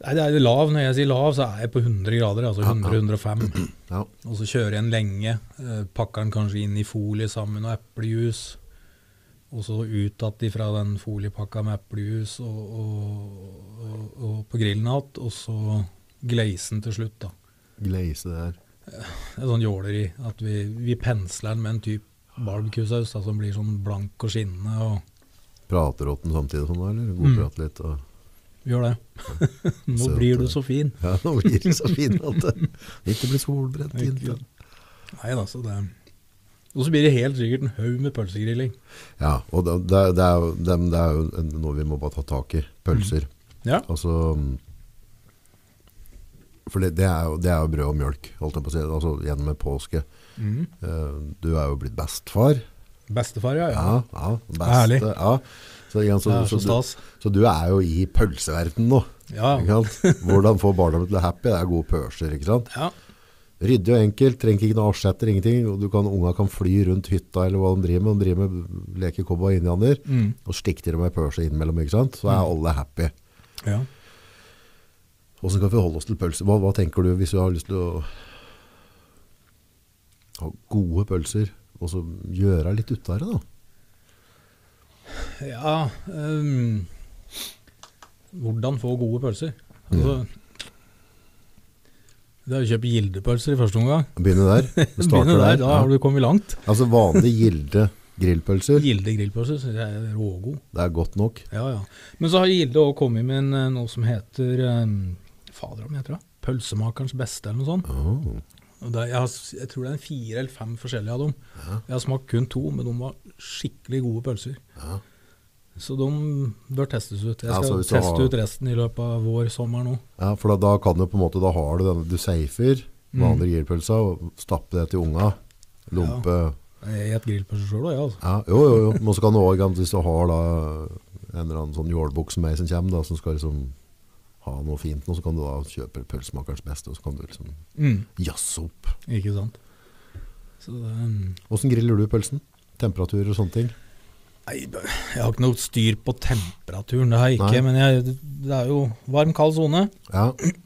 Nei, det er jo lav. Når jeg sier lav, så er jeg på 100 grader, altså Ja, ja. 100-105. Ja. Og så kjører jeg den lenge. eh, Pakker den kanskje inn i folie sammen med noe eplejus. Og så ut igjen fra den foliepakka med eplejus og, og, og, og på grillen igjen. Og så glaisen til slutt, da. glaze der. Det er sånn jåleri. At vi, vi pensler den med en type barbecue-saus da, som blir sånn blank og skinnende. og Prater åt den samtidig sånn, da, eller? Mm. Godprat litt og vi Gjør det. Nå Søt, blir eh, du så fin. Ja, nå blir det så fint at det ikke blir solbrent. Ikke Fint. sant? Nei da, så det Og så blir det helt sikkert en haug med pølsegrilling. Ja, og det, det, er- det, er, jo- dem- det er jo en- noe vi må bare ta tak i. Pølser. Ja. Altså mm, For det, det, er jo, det er jo brød og mjølk, holdt jeg på å si. Altså gjennom en påske. Eh, Du er jo blitt bestefar. Bestefar, ja. ja. Ja, ja. Beste, Herlig. Ja. Så, igjen, Det så, er så, så du, stas. så du er jo i pølseverdenen nå. Ja. Ikke sant? Hvordan få barna til å bli happy? Det er gode pølser, ikke sant? ja. Ryddig og enkelt, trenger ikke noe avsetter, ingenting. og Du kan, unga kan fly rundt hytta eller hva de driver med. De driver med leker cowboy og indianer. Mm. Og stikter dem med pølse innimellom, ikke sant? Så er alle happy. ja. Hvordan kan vi holde oss til pølser? Hva, hva tenker du hvis du har lyst til å ha gode pølser, og så gjøre litt ut av det, da? Ja, ehm, Hvordan få gode pølser? Altså, Det er å kjøpe gildepølser i første omgang. Begynne der. Vi Begynne starter der, der. da har Ja. du kommet langt. Altså vanlig gilde grillpølser, Gilde grillpølser syns jeg er rågod. det er godt nok. Ja, ja. Men så har Gilde også kommet med en, eh, noe som heter um, Fader, hva heter det? Pølsemakerens beste, eller noe sånt. Åh. Og det, jeg, har, s- jeg tror det er en fire eller fem forskjellige av dem. Jeg har smakt kun to, men de var skikkelig gode pølser. Ja. Så de bør testes ut. Jeg Ja, skal så hvis du teste har- ut resten i løpet av vår sommer nå. Ja, for da, da kan du på en måte, da har du denne, du safer Mm. vanlig grillpølsa, og stappe det til unga, lompe. Jeg et grillpølse sjøl òg, jeg, altså. Ja. jo, jo, jo. Men så kan du også, ikke sant, hvis du har da en eller annen sånn jålbukk som jeg som kommer da, som skal liksom ha noe fint nå, så kan du da kjøpe pølsemakerens beste, og så kan du liksom jasse opp. Ikke sant. Så det, mm, Hvordan griller du pølsen? Temperaturer og sånne ting? nei, jeg har ikke noe styr på temperaturen, det har jeg ikke. Nei. Men jeg, det er jo varm, kald sone. Ja.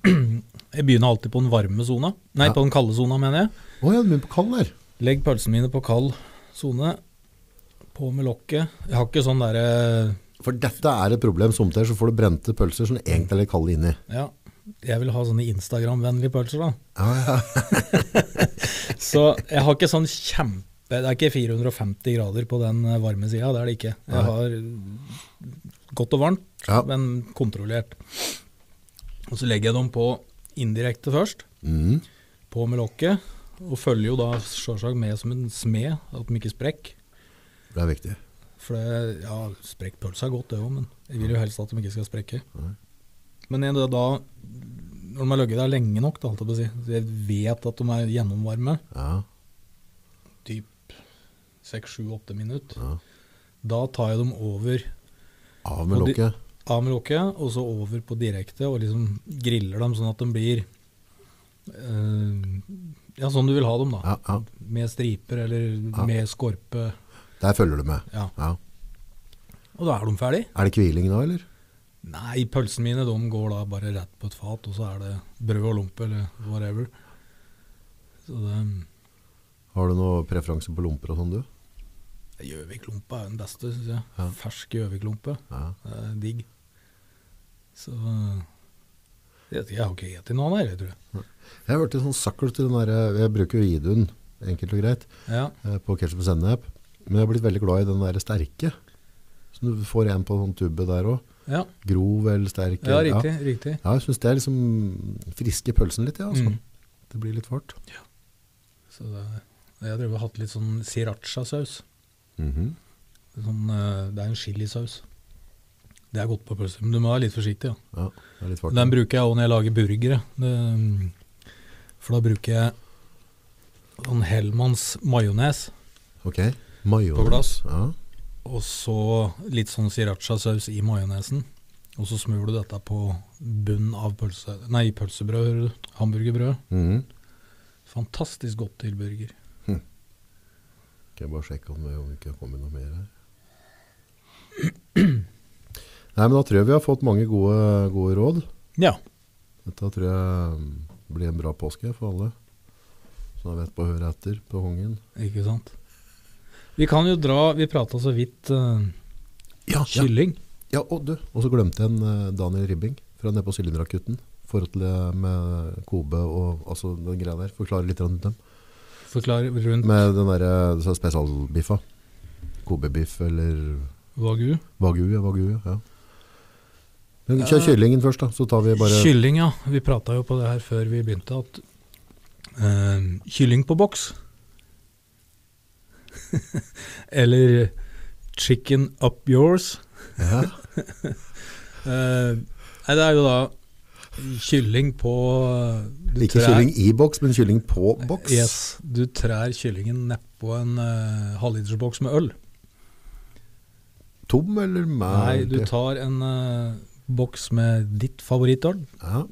Jeg begynner alltid på den varme sona. Nei, Ja. på den kalde sona, mener jeg. Åja, du begynner på kall der. Legg pølsene mine på kald sone. På med lokket. Jeg har ikke sånn derre For dette er et problem somtider, så får du brente pølser som egentlig er litt kalde inni. Ja, jeg vil ha sånne Instagram-vennlige pølser, da. Ja, ja. Så jeg har ikke sånn kjempe Det er ikke 450 grader på den eh, varme sida, det er det ikke. Jeg har godt og varmt, Ja. men kontrollert. Og så legger jeg dem på indirekte først, Mm. på med lokket. Og følger jo da sjølsagt med som en smed, at de ikke sprekker. Det er viktig. For det, ja, sprekk pølse er godt det òg, men jeg vil jo helst at de ikke skal sprekke. Nei. Men jeg, da, når de har ligget der lenge nok, da, holdt jeg på å si, så jeg vet at de er gjennomvarme, Ja, typ 6-7-8 minutter, ja. da tar jeg dem over Av med Og de- lokket. av med lokket, og så over på direkte, og liksom griller dem sånn at de blir eh, Ja, sånn du vil ha dem, da. Ja, ja. Med striper eller Ja. med skorpe. Der følger du med. Ja. Ja. Og da er de ferdig. Er det kviling da, eller? Nei, pølsene mine de går da bare rett på et fat, og så er det brød og lompe eller whatever. Så det, Har du noe preferanse på lomper og sånn, du? Gjøviklompa er den beste, syns jeg. Ja. Fersk Gjøviklompe. Ja. Det er digg. Så Jeg, jeg har ikke spist noe annet, jeg tror jeg. Jeg har vært litt sånn sakkel til den der, jeg bruker jo idun, enkelt og greit, Ja. eh, på ketchup og sennep. Men jeg har blitt veldig glad i den der sterke. Så du får en på en sånn tubbe der også. Ja, Grov eller sterk. ja eller- riktig. riktig. Ja, jeg synes det er liksom friske pølsen litt, ja. Altså. Mm. Det blir litt fart. Så det, jeg har drevet og hatt litt sånn sriracha-saus. Mhm. Sånn, eh, det er en chilisaus. Det er godt på pølser, men du må være litt forsiktig. Ja. Ja, det er litt fart. Den bruker jeg òg når jeg lager burgere. Det- mm, For da bruker jeg sånn Hellmanns majones, Ok. Majones. På glass. Ja. og så litt sånn sriracha-saus i majonesen. Og så smører du dette på bunnen av pølse, nei, pølsebrød, hører du. hamburgerbrød. Mhm. Fantastisk godt til burger. Skal jeg bare sjekke om det om det ikke kommer noe mer her. Nei, men da tror jeg vi har fått mange gode, gode råd. Ja. Dette tror jeg mm, blir en bra påske for alle. Så da vet på å høre etter på hongen. Ikke sant. Vi kan jo dra Vi prata så vidt eh, Ja, ja. kylling. ja og du, og så glemte jeg en eh, Daniel Ribbing fra nede på Sylindrakutten. Forhold til det med Kobe og altså den greia der. Forklare litt rundt dem. Forklar rundt Med den der eh, så spesialbiffa. Kobe-biff eller wagyu. Wagyu, ja. Wagyu, ja. Men kjør kyllingen først, da. Så tar vi bare Kylling, ja. Vi prata jo på det her før vi begynte at eh, kylling på boks Eller chicken up yours. Ja. Eh, nei, det er jo da kylling på du Ikke trær- kylling i boks, men kylling på boks. Yes, du trær kyllingen nedpå en uh, halvlitersboks med øl. Tom eller Nei, med? du tar en eh, boks med ditt favorittøl. ja.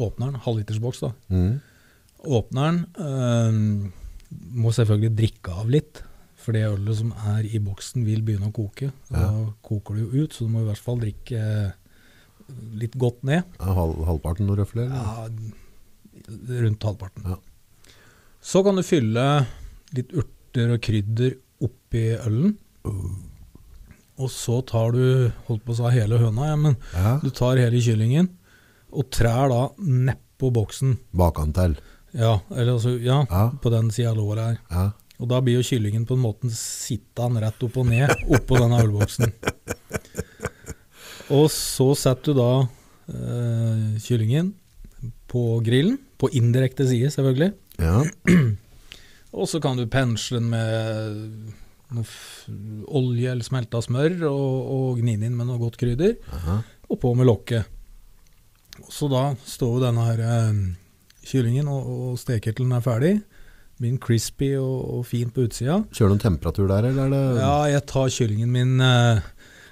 Åpner den, halvlitersboks, da. mm. Åpner den. ehm, må selvfølgelig drikke av litt, for det ølet som er i boksen, vil begynne å koke. Da koker det jo ut, så du må i hvert fall drikke eh, litt godt ned. Ja, halv, halvparten noe røfler? eller? Ja, rundt halvparten. Ja. Så kan du fylle litt urter og krydder oppi ølen. Uh. Og så tar du, holdt på å si hele høna, ja, men Ja. du tar hele kyllingen og trær da nedpå boksen. Bakan til. Ja, eller altså, ja, Ja. på den sida av låret her. Ja. Og da blir jo kyllingen på en måte sittende rett opp og ned oppå denne ølboksen. Og så setter du da eh, kyllingen på grillen, på indirekte side selvfølgelig. ja. Og så kan du pensle den med noe f olje eller smelta smør, og, og gni den inn med noe godt krydder, Aha. og på med lokket. Så da står jo denne her eh, kyllingen, og, og steker til den er ferdig. Blir den crispy og, og fin på utsida. Kjører du en temperatur der, eller er det Ja, jeg tar kyllingen min eh,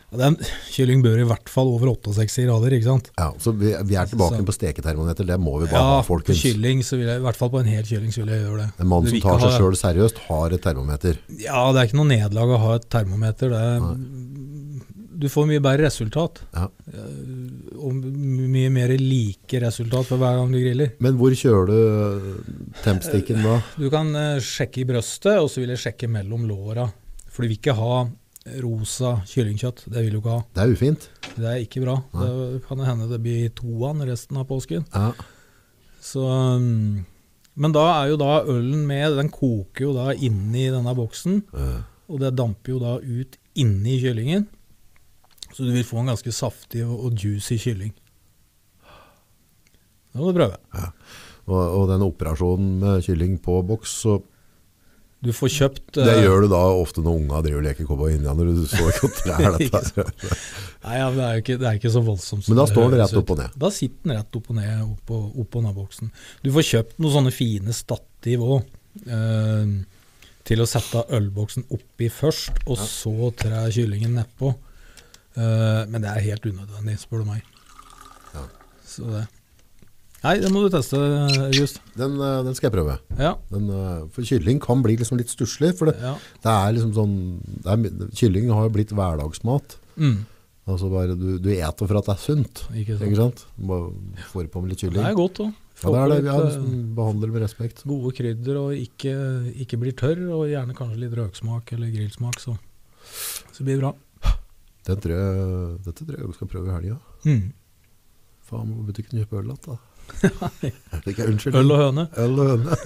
ja, den, Kylling bør i hvert fall over 68 grader, ikke sant? Ja, så vi, vi er tilbake Så- på steketermometer, det må vi bare Ja, ha, for folkens. kylling, så vil jeg, i hvert fall på en hel kylling så vil jeg gjøre det. En mann Du som vil tar ikke seg ha- sjøl seriøst, har et termometer. Ja, det er ikke noe nederlag å ha et termometer. Det er, du får mye bedre resultat. Ja. Eh, Og mye mer like resultat for hver gang du griller. Men hvor kjører du eh, tempstikken da? Du kan eh, sjekke i brøstet, og så vil jeg sjekke mellom låra. For du vil ikke ha eh, rosa kyllingkjøtt. Det vil du ikke ha. Det er ufint. Det er ikke bra. Det kan hende det blir toan resten av påsken. Ja. Så, um, men da er jo da ølen med, den koker jo da inni denne boksen, Eh, og det damper jo da ut inni kyllingen. Så du vil få en ganske saftig og, og juicy kylling. Det må du prøve. Og, og den operasjonen med kylling på boks, så Du får kjøpt det eh, gjør du da ofte når unga driver og leker cowboy og indianer. Du så ikke at det er dette. her. Nei, ja, det, er jo ikke, det er ikke så voldsomt. som Men da det står det høres rett ut. opp og ned. Da sitter den rett opp og ned oppå opp og ned boksen. Du får kjøpt noen sånne fine stativ òg. Eh, til å sette ølboksen oppi først, og så trær kyllingen nedpå. Eh, men det er helt unødvendig, spør du meg. Ja. Så det Nei, det må du teste, August. Den, eh, den skal jeg prøve. Ja. Den, eh, for kylling kan bli liksom litt stusslig. For det, ja. det er liksom sånn det er, my- Kylling har jo blitt hverdagsmat. Mm, Altså bare Du, du eter for at det er sunt. ikke Ikke sant. sant? Bare får på med litt Det er kylling. godt òg. Ja, det er det. Ja, eh, liksom, behandler med respekt. Gode krydder og ikke, ikke blir tørr, og gjerne kanskje litt røksmak eller grillsmak, så, så blir det bra. Den tror jeg, dette tror jeg vi skal prøve i helga. Mm. Faen, må på butikken kjøpe øl igjen, da. Er det ikke- Unnskyld. Øl og høne. Øl og høne.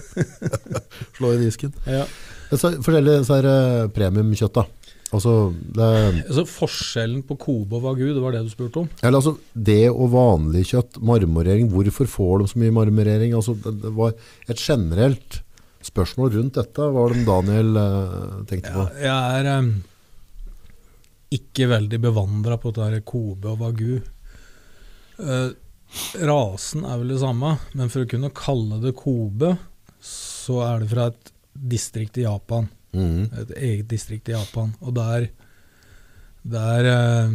Slå i disken. Ja. Men Så, forskjellige så er det premiumkjøtt, da. Altså det, Altså Forskjellen på Kobe og Wagyu, det var det du spurte om? eller, altså, det og vanlig kjøtt, marmorering, hvorfor får de så mye marmorering? Altså, det, det var et generelt spørsmål rundt dette, var det Daniel eh, tenkte på. jeg er em, ikke veldig bevandra på dette her Kobe og Wagyu. Eh, rasen er vel det samme, men for å kunne kalle det Kobe, så er det fra et distrikt i Japan. Mhm. et eget distrikt i Japan. Og der, der eh,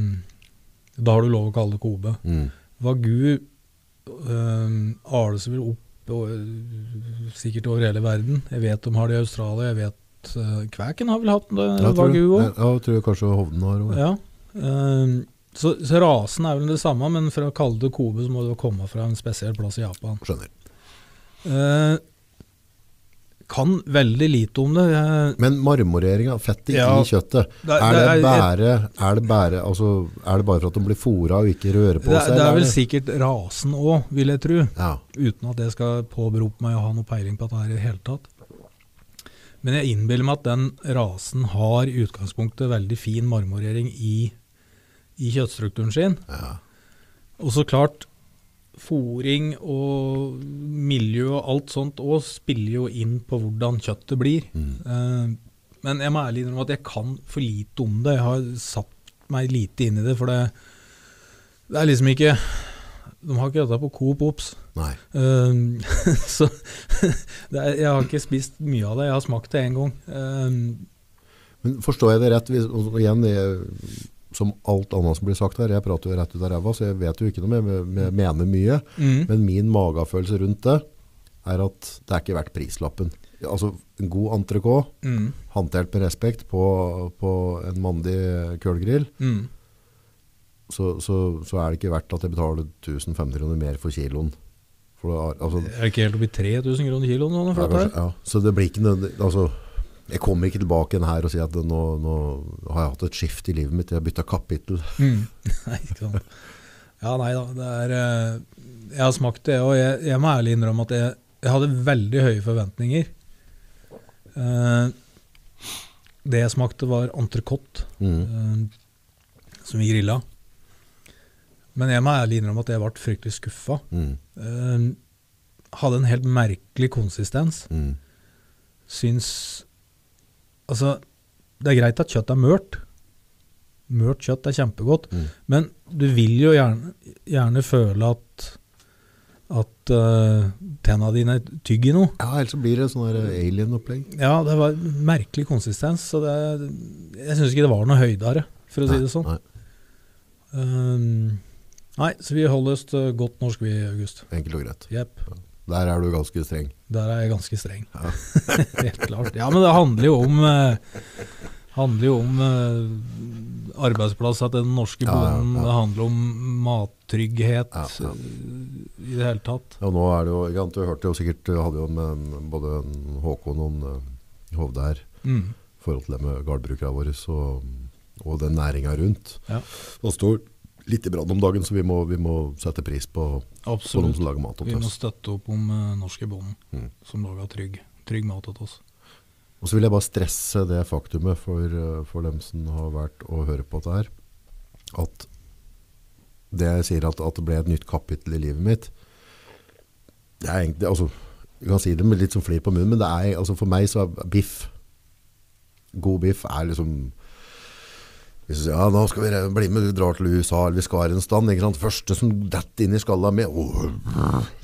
Da har du lov å kalle det Kobe. Mm. Vagu um, ales vel opp og, sikkert over hele verden. Jeg vet de har det i Australia. Jeg vet uh, Kvæken har vel hatt det, Ja, tror Vagu jeg, òg. ja, jeg tror jeg kanskje Hovden har òg. Ja. Ehm, så, så rasen er vel det samme, men for å kalle det Kobe så må det jo komme fra en spesiell plass i Japan. Skjønner. Eh, kan veldig lite om det. Eh, Jeg, Men marmoreringa, fettet Ja. i kjøttet, Det er- er det, det er- bare, er det bare altså, Er det bare for at de blir fôra og ikke rører på det, seg? det eller er vel sikkert rasen òg, vil jeg tro. Ja. Uten at jeg skal påberope meg å ha noe peiling på dette her i det hele tatt. Men jeg innbiller meg at den rasen har i utgangspunktet veldig fin marmorering i, i kjøttstrukturen sin. Ja. Og så klart, fòring og miljø og alt sånt òg spiller jo inn på hvordan kjøttet blir. Mm. Eh, Men jeg må ærlig innrømme at jeg kan for lite om det. Jeg har satt meg lite inn i det, for det, det er liksom ikke De har ikke dette på Coop Ops. Nei. Um, så det er, jeg har ikke spist mye av det. Jeg har smakt det én gang. Um, Men forstår jeg det rett? Hvis, og igjen, jeg, som alt annet som blir sagt her, jeg prater jo rett ut av ræva, så jeg vet jo ikke noe mer, men- men jeg mener mye. mm. Men min magefølelse rundt det er at det er ikke verdt prislappen. Altså, en god entrecôte, Mm. håndtert med respekt på, på en mandig kølgrill, Mm. så, så, så er det ikke verdt at jeg betaler 1500 kroner mer for kiloen. For det er, altså, Er det ikke helt oppi 3000 kroner kiloen? nå, den Ja, flata her? kanskje, ja. Så det blir ikke nødvendig altså, Jeg kommer ikke tilbake igjen her og sier at nå, nå har jeg hatt et skift i livet mitt, jeg har bytta kapittel. Mm. Nei, ikke sant. Ja, nei da. Det er eh, Jeg har smakt det, og jeg, jeg må ærlig innrømme at jeg, jeg hadde veldig høye forventninger. Eh, det jeg smakte, var entrecôte, Mm. eh, som vi grilla. Men jeg må ærlig innrømme at jeg ble fryktelig skuffa. Mm. Eh, hadde en helt merkelig konsistens. Mm. Syns Altså, det er greit at kjøtt er mørt. Mørt kjøtt er kjempegodt. Mm. Men du vil jo gjerne, gjerne føle at at eh, tenna dine tygger noe. Ja, ellers så blir det sånn der alien-opplegg. Ja, det var merkelig konsistens, så det, jeg syns ikke det var noe høydere, for å si det sånn. Nei, Um, nei, så vi holder oss til godt norsk, vi, August. nei, enkelt og greit. Jepp. Der er du ganske streng. Der er jeg ganske streng. Ja. Helt klart. Ja, men det handler jo om eh, handler jo om eh, arbeidsplasser til den norske Ja, ja, bonden. ja. Det handler om mattrygghet Ja, ja. eh, i det hele tatt. Ja, nå er det jo, ikke sant, Du hørte jo sikkert, du hadde jo med en, både en Håkon og en eh, Hovde her, Mm. i forhold til det med gardbrukerne våre og, og den næringa rundt. Ja. Det står litt i brann om dagen, så vi må, vi må sette pris på, på dem Absolutt. som lager mat Vi til må oss. støtte opp om uh, norske bonden, Mm. som lager trygg, trygg mat til oss. Og så vil jeg bare stresse det faktumet for, eh, for dem som har vært å høre på dette her, at det jeg sier at, at det ble et nytt kapittel i livet mitt, det er egentlig, altså, jeg kan si det med litt som flir på munnen, men det er, altså for meg så er biff, god biff er liksom, hvis du sier, ja, nå skal vi re- bli med, du drar til USA, eller vi skal være en stand, ikke sant? Første som dette inn i skalla med, åh,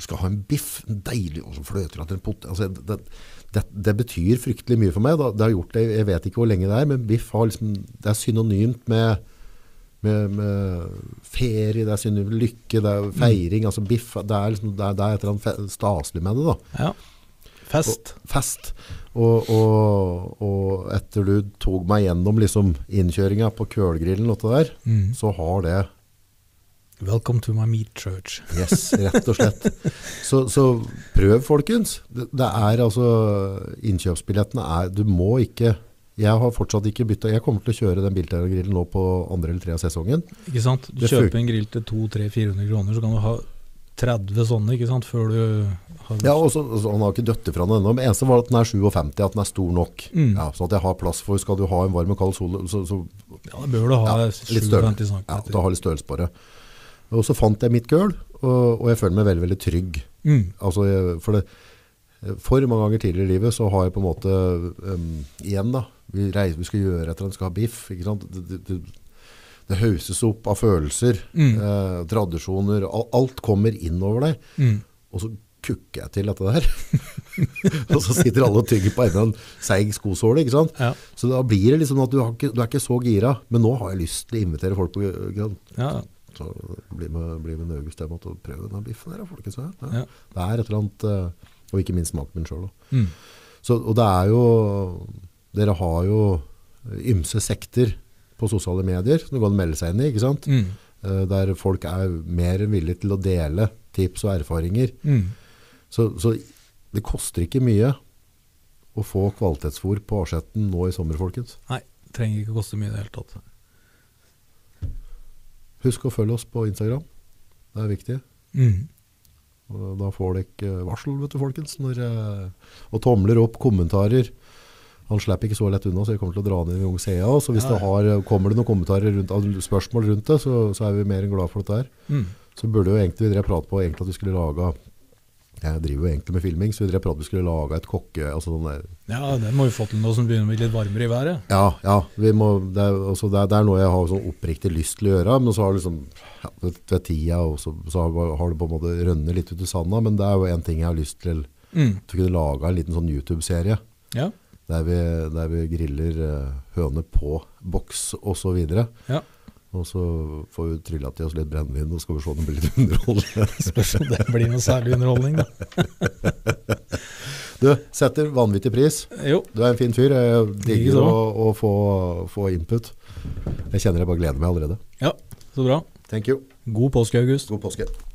skal ha en biff, en deilig, og så fløter at en pot, altså, det, det, det betyr fryktelig mye for meg, da. det har gjort det, jeg vet ikke hvor lenge det er, men biff har liksom, det er synonymt med, med, med ferie, det er synonymt med lykke, det er feiring, altså biff, det er liksom, det er, det er et eller annet fe- staselig med det da Ja. Fest. fest. Og, og, og etter du tog meg gjennom liksom, innkjøringa på kølgrillen og det der, Mm. så har det Welcome to my meat church. Yes, rett og slett. Så, så prøv, folkens. Det, det er altså Innkjøpsbillettene er Du må ikke Jeg har fortsatt ikke bytta Jeg kommer til å kjøre den bilterrorgrillen nå på andre eller tredje sesongen. Ikke sant? Du Det fun- kjøper en grill til 200-400 kroner, så kan du ha 30 sånne ikke sant? før du har Ja, og så, så Han har ikke døtt ifra den ennå, men eneste var at den er 57, at den er stor nok. Mm. Ja, så at jeg har plass for Skal du ha en varm og kald sole, så, så Ja, da bør du ha Ja, litt større. 57 cm. Ja, da har litt størrelse på det. Og så fant jeg mitt gulv, og, og jeg føler meg veldig, veldig trygg. mm. Altså, jeg, for, det, for mange ganger tidligere i livet så har jeg på en måte øhm, Igjen, da. Vi reiser, vi skal gjøre et eller annet, skal ha biff. ikke sant? Det, det, det, det hauses opp av følelser, Mm. eh, tradisjoner. al- Alt kommer innover deg. Mm. Og så kukker jeg til dette der. og så sitter alle og tygger på en eller annen seig skosåle. ikke sant? Ja. sånn Så da blir det liksom at du, har ikke, du er ikke så gira. Men nå har jeg lyst til å invitere folk på ikke sant? ja. Så bli med, bli med en August hjem og prøv denne biffen her, da, folkens. Ja. Ja. Det er et eller annet eh, Og ikke minst smaken min sjøl òg. Mm. Og det er jo Dere har jo ymse sekter på sosiale medier som det går an å melde seg inn i. ikke sant? Mm. Eh, Der folk er mer enn villige til å dele tips og erfaringer. Mm. Så, så det koster ikke mye å få kvalitetsfôr på asjetten nå i sommer, folkens. Nei, trenger ikke koste mye i det hele tatt. Husk å følge oss på Instagram. Det er viktig. Mm. Og Da får dere varsel, vet du, folkens. Når, eh, og tomler opp kommentarer. Han slipper ikke så lett unna, så jeg kommer til å dra ned i Ung CA. Så hvis Ja, det har, kommer det noen kommentarer rundt, altså spørsmål rundt det, så, så er vi mer enn glad for dette her. Mm. Så burde jo egentlig vi drev prat på egentlig at vi skulle lage Jeg driver jo egentlig med filming, så vi drev prat at vi skulle lage et kokke... Altså sånn der, Ja, den må vi få til nå som begynner å bli litt varmere i været. ja, ja. Vi må, det, er, altså, det, er, det er noe jeg har sånn oppriktig lyst til å gjøre, men så har det liksom ja, ved, ved tida også, så har, har det på en måte rønnet litt ut i sanda. Men det er jo en ting jeg har lyst til. Mm. At vi kunne laga en liten sånn YouTube-serie Ja. der, vi- der vi griller eh, høne på boks osv. Ja. Og så får vi trylla til oss litt brennevin, og så skal vi se om det blir litt underholdende. Spørs om det blir noe særlig underholdning, da. Du setter vanvittig pris. Jo. Du er en fin fyr. Jeg digger Likeså. å, å få, få input. Jeg kjenner jeg bare gleder meg allerede. Ja, så bra. Thank you. God påske, August. God påske.